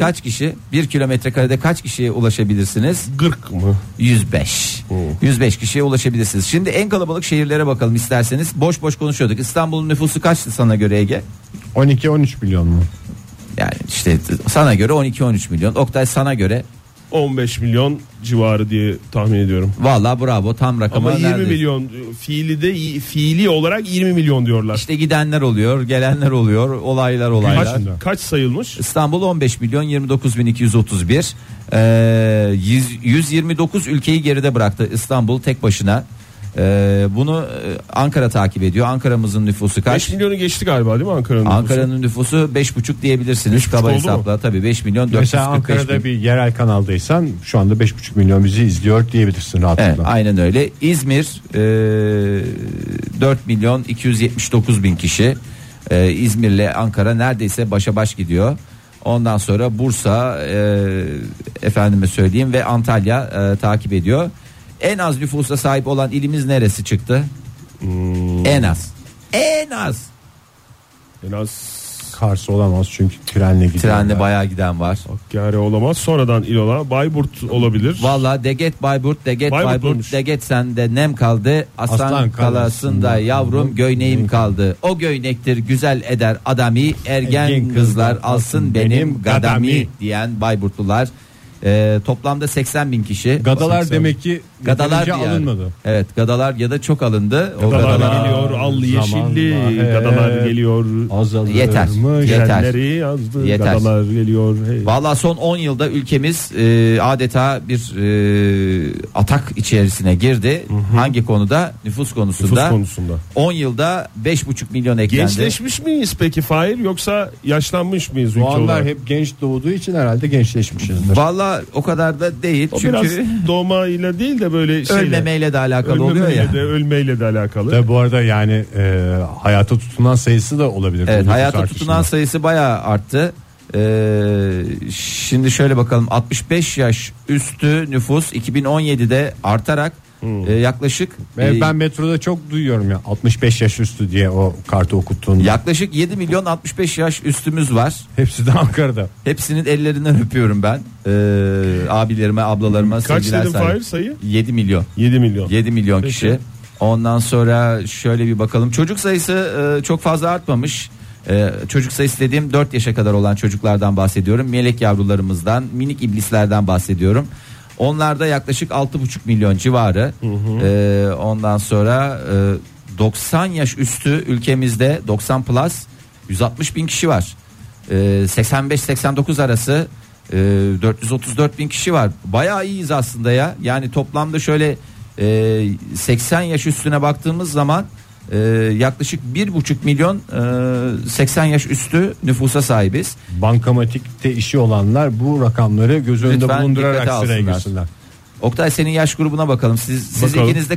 S4: kaç kişi? Bir kilometre karede kaç kişiye ulaşabilirsiniz?
S1: Gırk mı?
S4: 105. 105 kişiye ulaşabilirsiniz. Şimdi en kalabalık şehirlere bakalım isterseniz. Boş boş konuşuyorduk. İstanbul'un nüfusu kaçtı sana göre Ege?
S3: 12-13 milyon mu?
S4: Yani işte sana göre 12-13 milyon. Oktay sana göre
S1: 15 milyon civarı diye tahmin ediyorum.
S4: valla bravo tam rakama
S1: Ama 20
S4: neredeyiz?
S1: milyon fiili de fiili olarak 20 milyon diyorlar.
S4: İşte gidenler oluyor, gelenler oluyor, olaylar olaylar.
S1: kaç, kaç sayılmış?
S4: İstanbul 15 milyon 29 bin 231 Ee, yüz- 129 ülkeyi geride bıraktı İstanbul tek başına Ee, bunu e, Ankara takip ediyor Ankara'mızın nüfusu
S1: 5
S4: kaç
S1: milyonu geçti galiba değil mi Ankara'nın? nüfusu?
S4: Ankara'nın nüfusu 5,5 diyebilirsiniz
S1: 5,5
S4: kaba
S1: oldu
S4: hesapla tabii 5 milyon
S3: Mesela
S4: 445
S3: Ankara'da
S4: bin.
S3: bir yerel kanaldaysan şu anda 5,5 milyon bizi izliyor diyebilirsin
S4: Evet,
S3: rahatlıkla.
S4: aynen öyle. İzmir e, 4 milyon 279 bin kişi. E, İzmir'le Ankara neredeyse başa baş gidiyor. Ondan sonra Bursa e, efendime söyleyeyim ve Antalya e, takip ediyor. En az nüfusa sahip olan ilimiz neresi çıktı?
S3: Hmm.
S4: En az. En az.
S1: En az
S3: Kars olamaz çünkü trenle gidiyor.
S4: Trenle bayağı giden var.
S1: Hakkari olamaz. Sonradan il olan Bayburt olabilir.
S4: Valla Deget Bayburt, Deget
S1: Bayburt
S4: Bayburt,
S1: olmuş.
S4: Deget sende nem kaldı. Aslan,
S3: Aslan
S4: kalasında
S3: kalasında
S4: yavrum göğneğim kaldı. O göynektir güzel eder adami. Ergen,
S3: Ergen
S4: kızlar
S3: kızlar
S4: alsın
S3: alsın
S4: benim,
S3: benim
S4: gadami,
S3: gadami.
S4: diyen Bayburtlular. Ee, toplamda 80 bin kişi.
S3: Gadalar demek ki
S4: Gadalar
S3: gadalar
S4: diye
S3: alınmadı.
S4: Evet gadalar ya da çok alındı. O
S1: Gadalar
S4: gadalar-
S1: geliyor allı yeşilli.
S3: Zamanla,
S1: Gadalar
S3: evet.
S1: geliyor.
S3: Azalır
S4: Yeter.
S3: mı?
S4: Yeter.
S1: Yerleri yazdı.
S4: Yeter.
S1: Gadalar geliyor. Hey.
S4: Valla son 10 yılda ülkemiz e, adeta bir e, atak içerisine girdi. Hangi konuda? Nüfus konusunda.
S1: Nüfus konusunda.
S4: 10 yılda 5,5 milyon eklendi.
S1: Gençleşmiş miyiz peki Fahir yoksa yaşlanmış mıyız ülke
S3: Bu anlar
S1: olarak?
S3: hep genç doğduğu için herhalde gençleşmişizdir.
S4: Valla o kadar da değil
S1: O
S4: çünkü
S1: biraz doğma ile değil de böyle şeyle.
S4: ölmemeyle de alakalı oluyor
S1: ölmemeyle
S4: ya.
S1: De, ölmeyle de alakalı.
S3: Ve bu arada yani e, hayata tutunan sayısı da olabilir.
S4: Evet
S3: Bu
S4: hayata
S3: nüfus
S4: tutunan
S3: artışında.
S4: sayısı bayağı arttı. Ee, şimdi şöyle bakalım 65 yaş üstü nüfus 2017'de artarak e, yaklaşık
S3: Ve
S4: e,
S3: ben metroda çok duyuyorum ya 65 yaş üstü diye o kartı okuttuğunda.
S4: yaklaşık 7 milyon 65 yaş üstümüz var.
S3: Hepsi de Ankara'da.
S4: Hepsinin ellerinden öpüyorum ben. Ee, abilerime, ablalarıma
S1: Kaç
S4: sevgiler
S1: dedin
S4: saygı-
S1: Fahir sayı?
S4: 7 milyon.
S1: 7 milyon.
S4: 7 milyon
S1: Peki.
S4: kişi. Ondan sonra şöyle bir bakalım. Çocuk sayısı e, çok fazla artmamış. E, çocuk sayısı dediğim 4 yaşa kadar olan çocuklardan bahsediyorum. Melek yavrularımızdan, minik iblislerden bahsediyorum. Onlarda yaklaşık 6,5 milyon civarı. E, ondan sonra e, 90 yaş üstü ülkemizde 90 plus 160 bin kişi var. E, 85-89 arası e, 434 bin kişi var. Bayağı iyiyiz aslında ya. Yani toplamda şöyle e, 80 yaş üstüne baktığımız zaman e, yaklaşık 1,5 milyon e, 80 yaş üstü nüfusa sahibiz.
S3: Bankamatikte işi olanlar bu rakamları göz önünde
S4: Lütfen
S3: bulundurarak
S4: dikkate
S3: sıraya
S4: alsınlar.
S3: girsinler.
S4: Oktay senin yaş grubuna bakalım. Siz, siz
S1: Bakalım.
S4: ikiniz de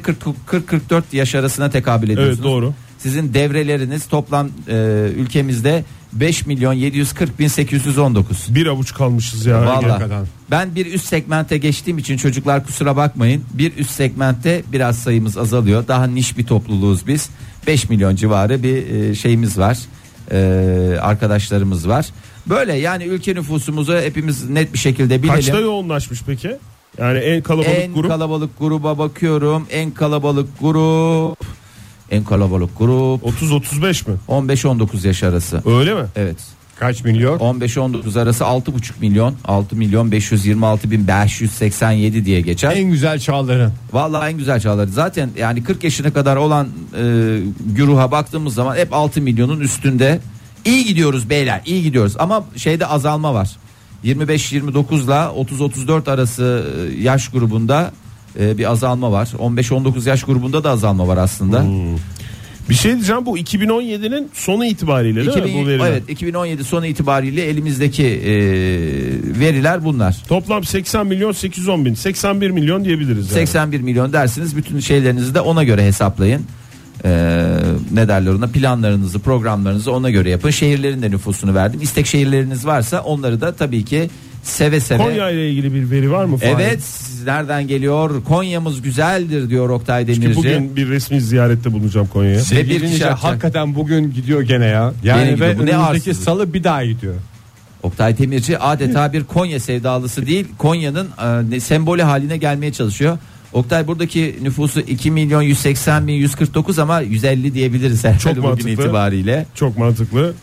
S4: 40-44 yaş arasına tekabül ediyorsunuz.
S1: doğru.
S4: Sizin devreleriniz toplam e, ülkemizde 5 milyon 740 bin 819.
S1: Bir avuç kalmışız ya.
S4: Valla
S3: hakikaten.
S4: ben bir üst segmente geçtiğim için çocuklar kusura bakmayın bir üst segmente biraz sayımız azalıyor daha niş bir topluluğuz biz 5 milyon civarı bir e, şeyimiz var E, arkadaşlarımız var böyle yani ülke nüfusumuzu hepimiz net bir şekilde bilelim.
S1: Kaçta yoğunlaşmış peki? Yani en kalabalık
S4: en
S1: grup.
S4: kalabalık gruba bakıyorum en kalabalık grup en kalabalık grup
S1: 30-35 mi?
S4: 15-19 yaş arası
S1: Öyle mi?
S4: evet.
S3: Kaç milyon?
S4: 15-19 arası 6,5 milyon 6 milyon 526 bin 587 diye geçer.
S3: En güzel çağların.
S4: Vallahi en güzel çağları zaten yani 40 yaşına kadar olan e, güruha baktığımız zaman hep 6 milyonun üstünde. İyi gidiyoruz beyler iyi gidiyoruz ama şeyde azalma var. 25-29 ile 30-34 arası e, yaş grubunda e, bir azalma var. 15-19 yaş grubunda da azalma var aslında.
S1: Hmm. Bir şey diyeceğim bu 2017'nin sonu itibariyle değil mi
S4: 2000
S1: bu veriler?
S4: evet 2017 sonu itibariyle elimizdeki e, veriler bunlar.
S1: Toplam 80 milyon 810 bin. 81 milyon diyebiliriz yani.
S4: 81 milyon dersiniz bütün şeylerinizi de ona göre hesaplayın. Ee, ne derler ona planlarınızı programlarınızı ona göre yapın şehirlerin de nüfusunu verdim istek şehirleriniz varsa onları da tabii ki seve seve
S1: Konya ile ilgili bir veri var mı? Fahir?
S4: evet siz nereden geliyor Konya'mız güzeldir diyor Oktay Demirci
S1: Ki bugün bir resmi ziyarette bulunacağım Konya'ya.
S4: Ve bir
S3: Sevgili
S4: kişi
S3: Nice
S4: atacak.
S3: hakikaten bugün gidiyor gene ya.
S4: Gene
S3: Yani
S4: gidiyor.
S3: ve
S4: Bu ne
S3: önümüzdeki
S4: arsızlık.
S3: salı bir daha gidiyor.
S4: Oktay Demirci adeta bir Konya sevdalısı değil Konya'nın e, ne- sembolü haline gelmeye çalışıyor Oktay buradaki nüfusu 2 milyon 180 bin 149 ama 150 diyebiliriz herhalde
S1: Çok
S4: bugün
S1: mantıklı.
S4: itibariyle.
S1: Çok mantıklı.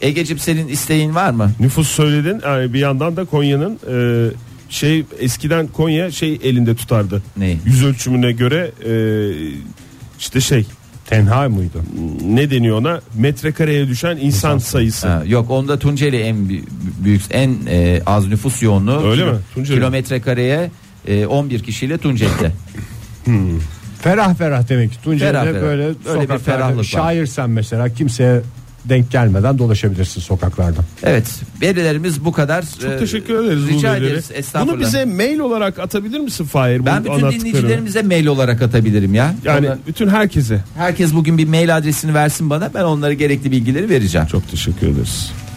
S4: Egeciğim senin isteğin var mı?
S1: Nüfus söyledin yani bir yandan da Konya'nın e, şey eskiden Konya şey elinde tutardı.
S4: Neyi?
S1: Yüz ölçümüne göre e, işte şey
S3: Tenha mıydı?
S1: ne deniyor ona metrekareye düşen insan sayısı.
S4: Ha, yok onda Tunceli en bi- büyük en e, az nüfus yoğunluğu.
S1: Öyle
S4: Kilo-
S1: mi? Tunceli.
S4: Kilometre kareye e, 11 kişiyle Tunceli'de.
S3: Ferah ferah demek ki.
S4: Ferah ferah.
S3: Tunceli'de böyle
S4: Öyle bir
S3: sokaklarda
S4: ferahlık var.
S3: Şairsen mesela kimseye denk gelmeden dolaşabilirsin sokaklarda.
S4: evet verilerimiz bu kadar.
S1: Çok
S4: Ee,
S1: teşekkür ederiz. bu
S4: Rica
S1: verileri.
S4: ederiz estağfurullah.
S1: Bunu bize mail olarak atabilir misin Fahir?
S4: ben
S1: Bu
S4: bütün
S1: anlattıklarını?
S4: dinleyicilerimize mail olarak atabilirim ya.
S1: yani
S4: Ona-
S1: bütün herkese
S4: herkes bugün bir mail adresini versin bana ben onlara gerekli bilgileri vereceğim.
S1: çok teşekkür ederiz.